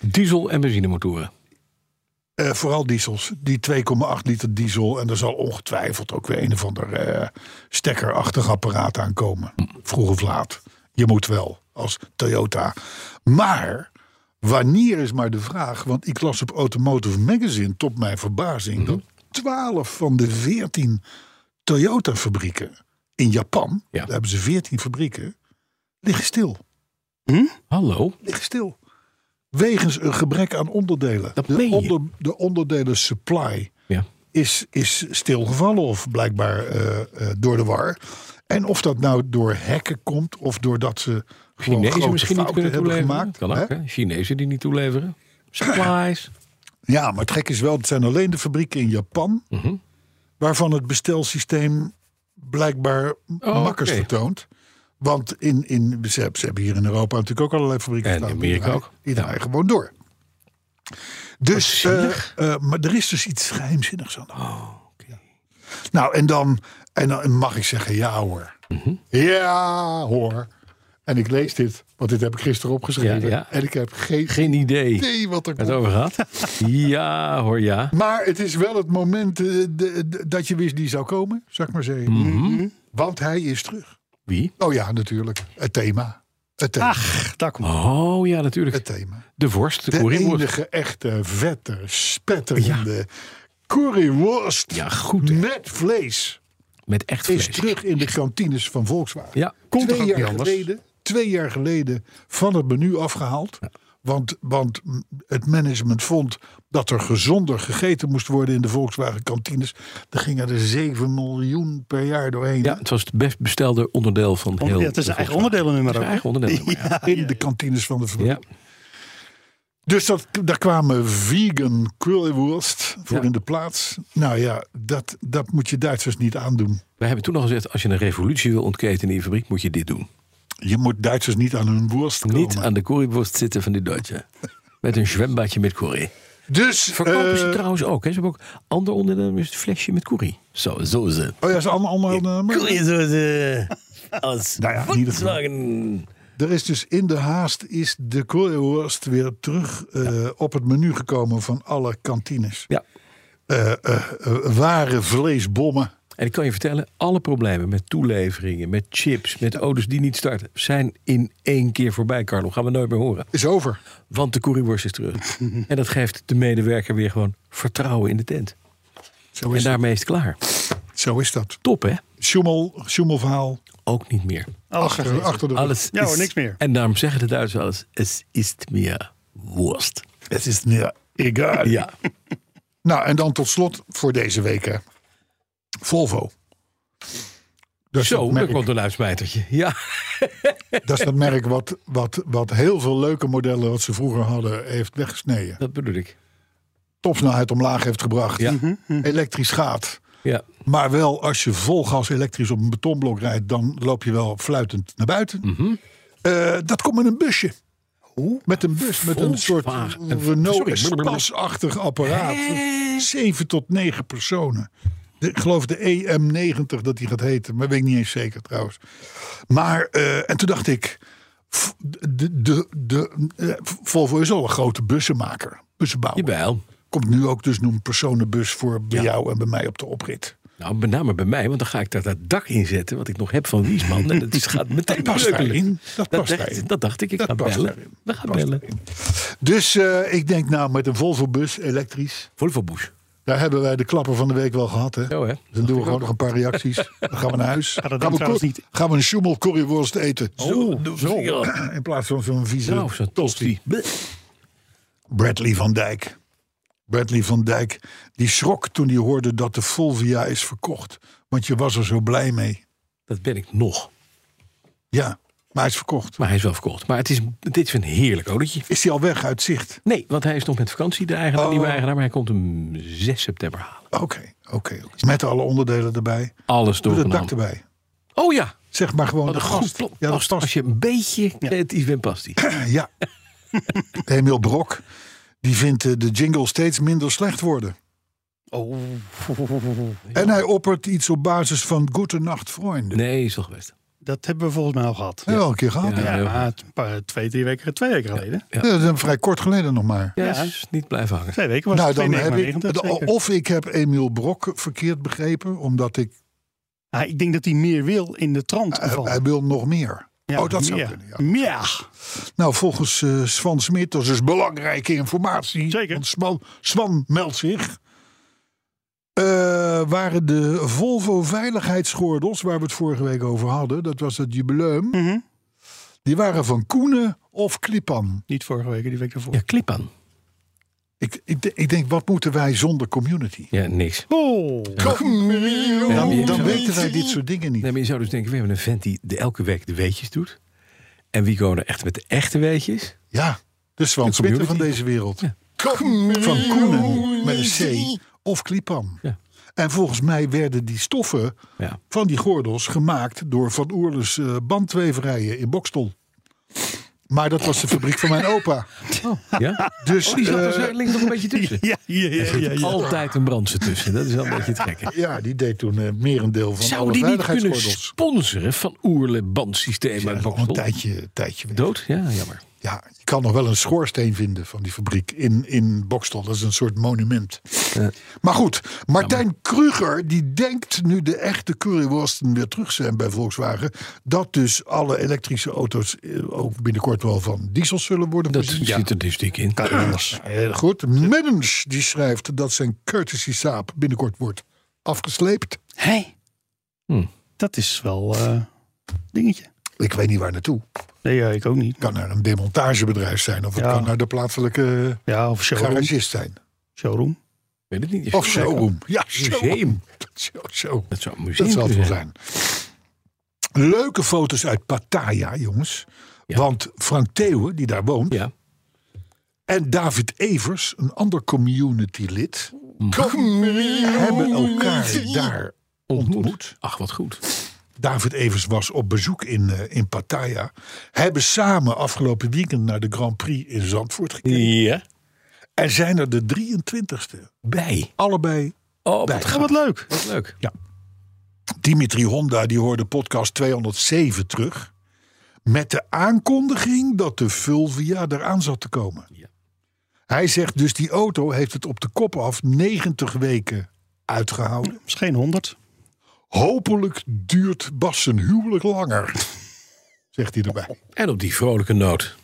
[SPEAKER 3] Diesel- en benzinemotoren.
[SPEAKER 2] Eh, vooral diesels. Die 2,8 liter diesel. En er zal ongetwijfeld ook weer een of ander eh, stekkerachtig apparaat aankomen. Vroeg of laat. Je moet wel, als Toyota. Maar wanneer is maar de vraag. Want ik las op Automotive Magazine, tot mijn verbazing... dat 12 van de 14 Toyota-fabrieken in Japan...
[SPEAKER 3] Ja.
[SPEAKER 2] daar hebben ze 14 fabrieken, liggen stil.
[SPEAKER 3] Hallo?
[SPEAKER 2] Liggen stil. Wegens een gebrek aan onderdelen.
[SPEAKER 3] Dat
[SPEAKER 2] de,
[SPEAKER 3] meen je.
[SPEAKER 2] de onderdelen supply
[SPEAKER 3] Ja.
[SPEAKER 2] is, is stilgevallen of blijkbaar eh, eh, door de war. En of dat nou door hekken komt of doordat ze gewoon
[SPEAKER 3] Chinezen
[SPEAKER 2] grote
[SPEAKER 3] misschien niet
[SPEAKER 2] fouten
[SPEAKER 3] kunnen
[SPEAKER 2] hebben
[SPEAKER 3] toeleveren.
[SPEAKER 2] gemaakt.
[SPEAKER 3] kan
[SPEAKER 2] hè?
[SPEAKER 3] ook, hè? Chinezen die niet toeleveren. Supplies.
[SPEAKER 2] Ja, maar het gek is wel, het zijn alleen de fabrieken in Japan...
[SPEAKER 3] Mhm.
[SPEAKER 2] waarvan het bestelsysteem blijkbaar makkers
[SPEAKER 3] Oh, oké.
[SPEAKER 2] vertoont. Want in, in, ze, hebben- ze hebben hier in Europa natuurlijk ook allerlei fabrieken
[SPEAKER 3] En
[SPEAKER 2] staan.
[SPEAKER 3] in
[SPEAKER 2] Die
[SPEAKER 3] Amerika
[SPEAKER 2] draaien-
[SPEAKER 3] ook.
[SPEAKER 2] Die
[SPEAKER 3] Ja.
[SPEAKER 2] draaien gewoon door. Dus, eh, eh, maar er is dus iets geheimzinnigs aan de hand.
[SPEAKER 3] Oh,
[SPEAKER 2] Ja. Nou, en dan, en dan mag ik zeggen, ja hoor.
[SPEAKER 3] Mhm.
[SPEAKER 2] Ja hoor. En ik lees dit, want dit heb ik gisteren opgeschreven.
[SPEAKER 3] Ja, ja.
[SPEAKER 2] En ik heb geen,
[SPEAKER 3] Geen idee waar
[SPEAKER 2] idee wat er komt.
[SPEAKER 3] het over gaat. Ja hoor, ja.
[SPEAKER 2] Maar het is wel het moment eh, de- de- dat je wist die zou komen, zou ik maar zeggen.
[SPEAKER 3] Mhm.
[SPEAKER 2] Want hij is terug.
[SPEAKER 3] Wie?
[SPEAKER 2] Oh ja, natuurlijk. Het thema. Het thema.
[SPEAKER 4] Ach, daar komt
[SPEAKER 3] Oh ja, natuurlijk.
[SPEAKER 2] Het thema.
[SPEAKER 3] De worst, de,
[SPEAKER 2] De
[SPEAKER 3] curryworst.
[SPEAKER 2] enige echte vette, spetterende curryworst
[SPEAKER 3] Ja, goed. hè.
[SPEAKER 2] met vlees
[SPEAKER 3] Met echt
[SPEAKER 2] is
[SPEAKER 3] vlees.
[SPEAKER 2] terug in de kantines van Volkswagen.
[SPEAKER 3] Ja,
[SPEAKER 4] Komt
[SPEAKER 2] twee
[SPEAKER 4] toch ook
[SPEAKER 2] jaar
[SPEAKER 4] niet anders?
[SPEAKER 2] geleden, twee jaar geleden van het menu afgehaald. Want, want m, het management vond dat er gezonder gegeten moest worden in de Volkswagen kantines. Daar gingen er 7 miljoen per jaar doorheen.
[SPEAKER 3] ja,
[SPEAKER 2] hè?
[SPEAKER 3] het was het best bestelde onderdeel van heel...
[SPEAKER 4] Ja, het is
[SPEAKER 3] de
[SPEAKER 4] een eigen
[SPEAKER 3] Volkswagen.
[SPEAKER 4] onderdelennummer
[SPEAKER 3] Het is
[SPEAKER 4] ook.
[SPEAKER 3] een eigen onderdeel. maar Ja.
[SPEAKER 2] In de kantines van de fabriek.
[SPEAKER 3] ja.
[SPEAKER 2] Dus dat, daar kwamen vegan currywurst voor
[SPEAKER 3] Ja.
[SPEAKER 2] in de plaats. Nou ja, dat, dat moet je Duitsers niet aandoen.
[SPEAKER 3] Wij hebben toen al gezegd, als je een revolutie wil ontketen in je fabriek, moet je dit doen.
[SPEAKER 2] Je moet Duitsers niet aan hun worst komen.
[SPEAKER 3] Niet aan de curryworst zitten van die
[SPEAKER 4] <laughs>
[SPEAKER 3] Duitse. Met een zwembadje met curry.
[SPEAKER 2] Dus,
[SPEAKER 3] Verkopen ze
[SPEAKER 2] eh,
[SPEAKER 3] trouwens ook. Hè? Ze hebben ook ander onderdeel is het flesje met curry. Zo, zo is het.
[SPEAKER 2] Oh ja, ze allemaal... allemaal eh, maar-
[SPEAKER 3] <laughs> Curry zo is eh, als
[SPEAKER 2] Nou ja, in ieder geval.
[SPEAKER 3] Volkswagen
[SPEAKER 2] Er is dus in de haast is de currywurst weer terug eh, op het menu gekomen van alle kantines.
[SPEAKER 3] Ja.
[SPEAKER 2] Eh, eh, eh, ware vleesbommen.
[SPEAKER 3] En ik kan je vertellen, alle problemen met toeleveringen, met chips, met auto's die niet starten, zijn in één keer voorbij, Carlo. Gaan we nooit meer horen.
[SPEAKER 2] Is over.
[SPEAKER 3] Want de currywurst is
[SPEAKER 2] <laughs>
[SPEAKER 3] terug. en dat geeft de medewerker weer gewoon vertrouwen in de tent.
[SPEAKER 2] Zo
[SPEAKER 3] En
[SPEAKER 2] is,
[SPEAKER 3] daarmee is het klaar.
[SPEAKER 2] dat. Zo is dat.
[SPEAKER 3] Top, hè?
[SPEAKER 2] Sjoemel, sjoemelverhaal.
[SPEAKER 3] Ook niet meer.
[SPEAKER 4] Alles
[SPEAKER 2] Achter,
[SPEAKER 4] gegeten.
[SPEAKER 2] achter de
[SPEAKER 3] Alles
[SPEAKER 4] Ja hoor,
[SPEAKER 3] is-
[SPEAKER 4] niks meer.
[SPEAKER 3] En daarom zeggen de Duitsers alles. Het is meer worst.
[SPEAKER 2] Het is ja, egal.
[SPEAKER 3] Ja.
[SPEAKER 2] Nou, en dan tot slot voor deze week. Hè. Volvo. Dat is,
[SPEAKER 3] Zo,
[SPEAKER 2] dat,
[SPEAKER 3] daar
[SPEAKER 2] merk,
[SPEAKER 3] komt een uitsmijtertje. Ja.
[SPEAKER 2] dat is dat merk wat, wat, wat heel veel leuke modellen wat ze vroeger hadden heeft weggesneden.
[SPEAKER 3] Dat bedoel ik.
[SPEAKER 2] Topsnelheid omlaag heeft gebracht.
[SPEAKER 3] Ja.
[SPEAKER 2] Elektrisch gaat.
[SPEAKER 3] Ja.
[SPEAKER 2] Maar wel als je vol gas elektrisch op een betonblok rijdt, dan loop je wel fluitend naar buiten. Eh, dat komt met een busje. Met een bus, met een soort
[SPEAKER 3] Volkswagen.
[SPEAKER 2] Renault
[SPEAKER 3] Sorry.
[SPEAKER 2] Espace-achtig apparaat. Zeven tot negen personen. De- ik geloof de EM90 dat die gaat heten, maar weet ik niet eens zeker trouwens. Maar, eh, en toen dacht ik, f- de, de, de, eh, Volvo is al een grote bussenmaker, bussenbouwer.
[SPEAKER 3] Jawel.
[SPEAKER 2] Komt nu ook dus een personenbus voor bij jou en bij mij op de oprit.
[SPEAKER 3] Nou, met name bij mij, want dan ga ik daar dat dak in zetten wat ik nog heb van Wiesman. En
[SPEAKER 2] <laughs>
[SPEAKER 3] dat is, gaat meteen
[SPEAKER 2] Dat past
[SPEAKER 3] lukken.
[SPEAKER 2] daarin. Dat past
[SPEAKER 3] dacht,
[SPEAKER 2] daarin.
[SPEAKER 3] dat dacht ik, ik
[SPEAKER 2] Dat
[SPEAKER 3] ga
[SPEAKER 2] past
[SPEAKER 3] bellen.
[SPEAKER 2] daarin.
[SPEAKER 3] We gaan
[SPEAKER 2] Past
[SPEAKER 3] bellen.
[SPEAKER 2] daarin. Dus eh, ik denk nou met een Volvo bus elektrisch.
[SPEAKER 3] Volvo Bush.
[SPEAKER 2] Daar hebben wij de klapper van de week wel gehad. Hè?
[SPEAKER 3] Zo, hè?
[SPEAKER 2] Dan doen we gewoon nog een paar reacties. Dan gaan we naar huis.
[SPEAKER 4] dat
[SPEAKER 2] gaan,
[SPEAKER 4] doen
[SPEAKER 2] we
[SPEAKER 4] trouwens
[SPEAKER 2] cur-
[SPEAKER 4] niet.
[SPEAKER 2] gaan we een schoemel currywurst eten.
[SPEAKER 3] Zo, zo.
[SPEAKER 2] In plaats van zo'n vieze
[SPEAKER 3] Nou, zo'n tosti. Bleh.
[SPEAKER 2] Bradley van Dijk. Bradley van Dijk. Die schrok toen hij hoorde dat de Volvia is verkocht. Want je was er zo blij mee.
[SPEAKER 3] Dat ben ik nog.
[SPEAKER 2] Ja, maar hij is verkocht.
[SPEAKER 3] Maar hij is wel verkocht. Maar het is, dit is een heerlijk autootje.
[SPEAKER 2] Is hij al weg uit zicht?
[SPEAKER 3] Nee, want hij is nog met vakantie, de eigenaar,
[SPEAKER 2] Oh.
[SPEAKER 3] nieuwe eigenaar. Maar hij komt hem 6 september halen.
[SPEAKER 2] Oké, oké. oké. Met alle onderdelen erbij.
[SPEAKER 3] Alles door
[SPEAKER 2] Doe
[SPEAKER 3] de
[SPEAKER 2] dat dak erbij.
[SPEAKER 3] Oh ja.
[SPEAKER 2] Zeg maar gewoon
[SPEAKER 3] Wat
[SPEAKER 2] de
[SPEAKER 3] een goed
[SPEAKER 2] gast.
[SPEAKER 3] plan.
[SPEAKER 2] Ja, dat
[SPEAKER 3] als,
[SPEAKER 2] past.
[SPEAKER 3] als je een beetje creatief bent, past die.
[SPEAKER 2] Ja. <laughs> Emiel Brok. Die vindt eh, de jingle steeds minder slecht worden. Oh. <laughs> En hij oppert iets op basis van Goedenacht, vrienden.
[SPEAKER 3] Nee, is toch best.
[SPEAKER 4] Dat hebben we volgens mij al gehad.
[SPEAKER 2] Hebben we al een keer gehad. Ja.
[SPEAKER 3] Ja.
[SPEAKER 4] Ja,
[SPEAKER 3] heel
[SPEAKER 4] maar een paar, twee, drie weken, twee weken geleden.
[SPEAKER 2] dat is vrij kort geleden nog maar.
[SPEAKER 3] Ja,
[SPEAKER 4] Ja.
[SPEAKER 3] is niet blijven hangen.
[SPEAKER 4] Twee weken was
[SPEAKER 2] nou,
[SPEAKER 4] het
[SPEAKER 2] dan heb ik, oh,
[SPEAKER 4] 92, zeker.
[SPEAKER 2] of ik heb Emiel Brok verkeerd begrepen, omdat ik, oh.
[SPEAKER 4] Ja, Nou, ik denk dat hij meer wil in de trant
[SPEAKER 2] hij,
[SPEAKER 4] van.
[SPEAKER 2] hij wil nog meer.
[SPEAKER 4] Ja,
[SPEAKER 2] Eh, oh, dat zou
[SPEAKER 4] meer.
[SPEAKER 2] kunnen, ja.
[SPEAKER 4] Meer.
[SPEAKER 2] Nou, volgens eh, Swan Smit, dat is dus belangrijke informatie.
[SPEAKER 4] Zeker.
[SPEAKER 2] Want Swan, Swan meldt zich. Eh, waren de Volvo veiligheidsgordels, waar we het vorige week over hadden, dat was het jubileum,
[SPEAKER 4] Mhm.
[SPEAKER 2] die waren van Koenen of Klipan.
[SPEAKER 4] Niet vorige week, die week ervoor.
[SPEAKER 3] Ja, klip aan.
[SPEAKER 2] Ik, ik, de- ik denk, wat moeten wij zonder community?
[SPEAKER 3] Ja, niks.
[SPEAKER 4] Oh,
[SPEAKER 3] Ja, maar je-
[SPEAKER 2] Dan, dan weten wij dit soort dingen niet.
[SPEAKER 3] Nee, maar je zou dus denken, we hebben een vent die de elke week de weetjes doet. En wie komen er echt met de echte weetjes?
[SPEAKER 2] Ja, de Swan Smitten van
[SPEAKER 3] community.
[SPEAKER 2] deze wereld.
[SPEAKER 3] Ja.
[SPEAKER 2] Van Koenen met een C of Klipan.
[SPEAKER 3] Ja.
[SPEAKER 2] En volgens mij werden die stoffen
[SPEAKER 3] Ja.
[SPEAKER 2] van die gordels gemaakt door Van Oerles eh, bandweverijen in Bokstel. Maar dat was de fabriek van mijn
[SPEAKER 3] <laughs>
[SPEAKER 2] opa.
[SPEAKER 3] ja? Oh,
[SPEAKER 2] Dus
[SPEAKER 3] Die zat er
[SPEAKER 2] eh,
[SPEAKER 3] zo- ligt nog een beetje
[SPEAKER 2] <laughs>
[SPEAKER 3] tussen.
[SPEAKER 4] ja, ja, ja, ja, ja.
[SPEAKER 3] Altijd een brandse tussen. Dat is wel een beetje het gekke.
[SPEAKER 2] ja, die deed toen eh, merendeel van
[SPEAKER 3] Zou
[SPEAKER 2] alle
[SPEAKER 3] die niet kunnen
[SPEAKER 2] veiligheidsgordels.
[SPEAKER 3] sponsoren van Oerle bandsysteem uit
[SPEAKER 2] Ja, al een
[SPEAKER 3] Boksel?
[SPEAKER 2] tijdje, tijdje weg.
[SPEAKER 3] Dood? Ja, jammer.
[SPEAKER 2] Ja, je kan nog wel een schoorsteen vinden van die fabriek in, in Bokstel. Dat is een soort monument. Maar goed, Martijn Kruger die denkt nu de echte curryworsten weer terug zijn bij Volkswagen. Dat dus alle elektrische auto's eh, ook binnenkort wel van diesels zullen worden
[SPEAKER 3] Dat
[SPEAKER 2] voorzien.
[SPEAKER 3] zit er dus dik in.
[SPEAKER 2] Heel goed. Mennens die schrijft dat zijn courtesy saap binnenkort wordt afgesleept.
[SPEAKER 4] Hey.
[SPEAKER 3] Hmm.
[SPEAKER 4] Dat is wel eh dingetje.
[SPEAKER 2] Ik weet niet waar naartoe.
[SPEAKER 4] Nee, ja, ik ook niet.
[SPEAKER 2] Het kan naar een demontagebedrijf zijn of het
[SPEAKER 4] Ja.
[SPEAKER 2] kan naar de plaatselijke
[SPEAKER 4] Ja, of showroom.
[SPEAKER 2] garagist zijn.
[SPEAKER 4] showroom.
[SPEAKER 3] Weet het niet.
[SPEAKER 2] Of showroom. Ja, showroom.
[SPEAKER 3] Museum.
[SPEAKER 2] Zo, zo.
[SPEAKER 3] Dat zou een museum
[SPEAKER 2] Dat zal het wel
[SPEAKER 3] kunnen
[SPEAKER 2] zijn. Leuke foto's uit Pattaya, jongens.
[SPEAKER 3] Ja.
[SPEAKER 2] Want Frank Theeuwen, die daar woont...
[SPEAKER 3] Ja.
[SPEAKER 2] en David Evers, een ander community-lid...
[SPEAKER 3] Mm.
[SPEAKER 2] hebben elkaar daar ontmoet.
[SPEAKER 3] Ach, wat goed.
[SPEAKER 2] David Evers was op bezoek in, eh, in Pattaya. Hebben samen afgelopen weekend naar de Grand Prix in Zandvoort gekeken.
[SPEAKER 3] Ja.
[SPEAKER 2] En zijn er de 23ste.
[SPEAKER 3] Bij.
[SPEAKER 2] Allebei
[SPEAKER 3] Oh, wat,
[SPEAKER 2] Bij.
[SPEAKER 3] gaaf.
[SPEAKER 4] Ja, wat leuk.
[SPEAKER 3] Wat leuk.
[SPEAKER 2] Dimitri Honda die hoorde podcast 207 terug. Met de aankondiging dat de Fulvia eraan zat te komen.
[SPEAKER 3] Ja.
[SPEAKER 2] Hij zegt dus die auto heeft het op de kop af 90 weken uitgehouden.
[SPEAKER 4] is geen 100.
[SPEAKER 2] Hopelijk duurt Bas zijn huwelijk langer. <laughs> Zegt hij erbij.
[SPEAKER 3] En op die vrolijke noot.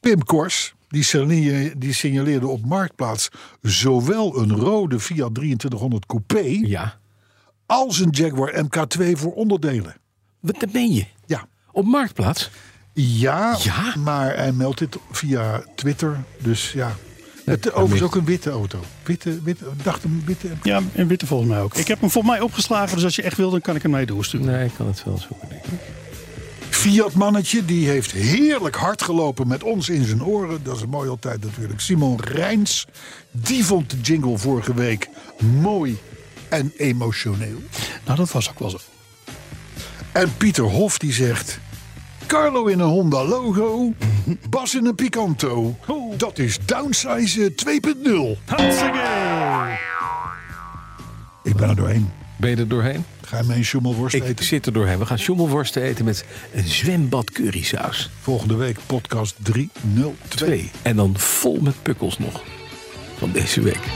[SPEAKER 2] Pim Kors, die signaleerde, die signaleerde op Marktplaats zowel een rode Fiat 2300 Coupé
[SPEAKER 3] Ja.
[SPEAKER 2] als een Jaguar MK2 voor onderdelen.
[SPEAKER 3] Wat dat ben je?
[SPEAKER 2] Ja,
[SPEAKER 3] Op Marktplaats?
[SPEAKER 2] ja,
[SPEAKER 3] Ja?
[SPEAKER 2] maar hij meldt dit via Twitter, dus ja. Het overigens ook een witte auto. Witte, witte, dacht een witte.
[SPEAKER 4] Ja, en witte volgens mij ook. Ik heb hem volgens mij opgeslagen, dus als je echt wil, dan kan ik hem mee doorsturen.
[SPEAKER 3] Nee, ik kan het wel zoeken, denk ik.
[SPEAKER 2] Fiat mannetje, die heeft heerlijk hard gelopen met ons in zijn oren. Dat is mooi altijd natuurlijk. Simon Rijns, die vond de jingle vorige week mooi en emotioneel.
[SPEAKER 4] Nou, dat was ook wel zo.
[SPEAKER 2] En Pieter Hof die zegt... Carlo in een Honda logo, Bas in een Picanto. Dat is downsize 2.0. Ik ben er doorheen.
[SPEAKER 3] Ben je er doorheen?
[SPEAKER 2] Ga je mee een schommelworst
[SPEAKER 3] Ik
[SPEAKER 2] eten?
[SPEAKER 3] zit er doorheen. We gaan schommelworsten eten met een zwembad currysaus.
[SPEAKER 2] Volgende week podcast 302.
[SPEAKER 3] Twee. En dan vol met pukkels nog. Van deze week.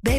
[SPEAKER 6] Bij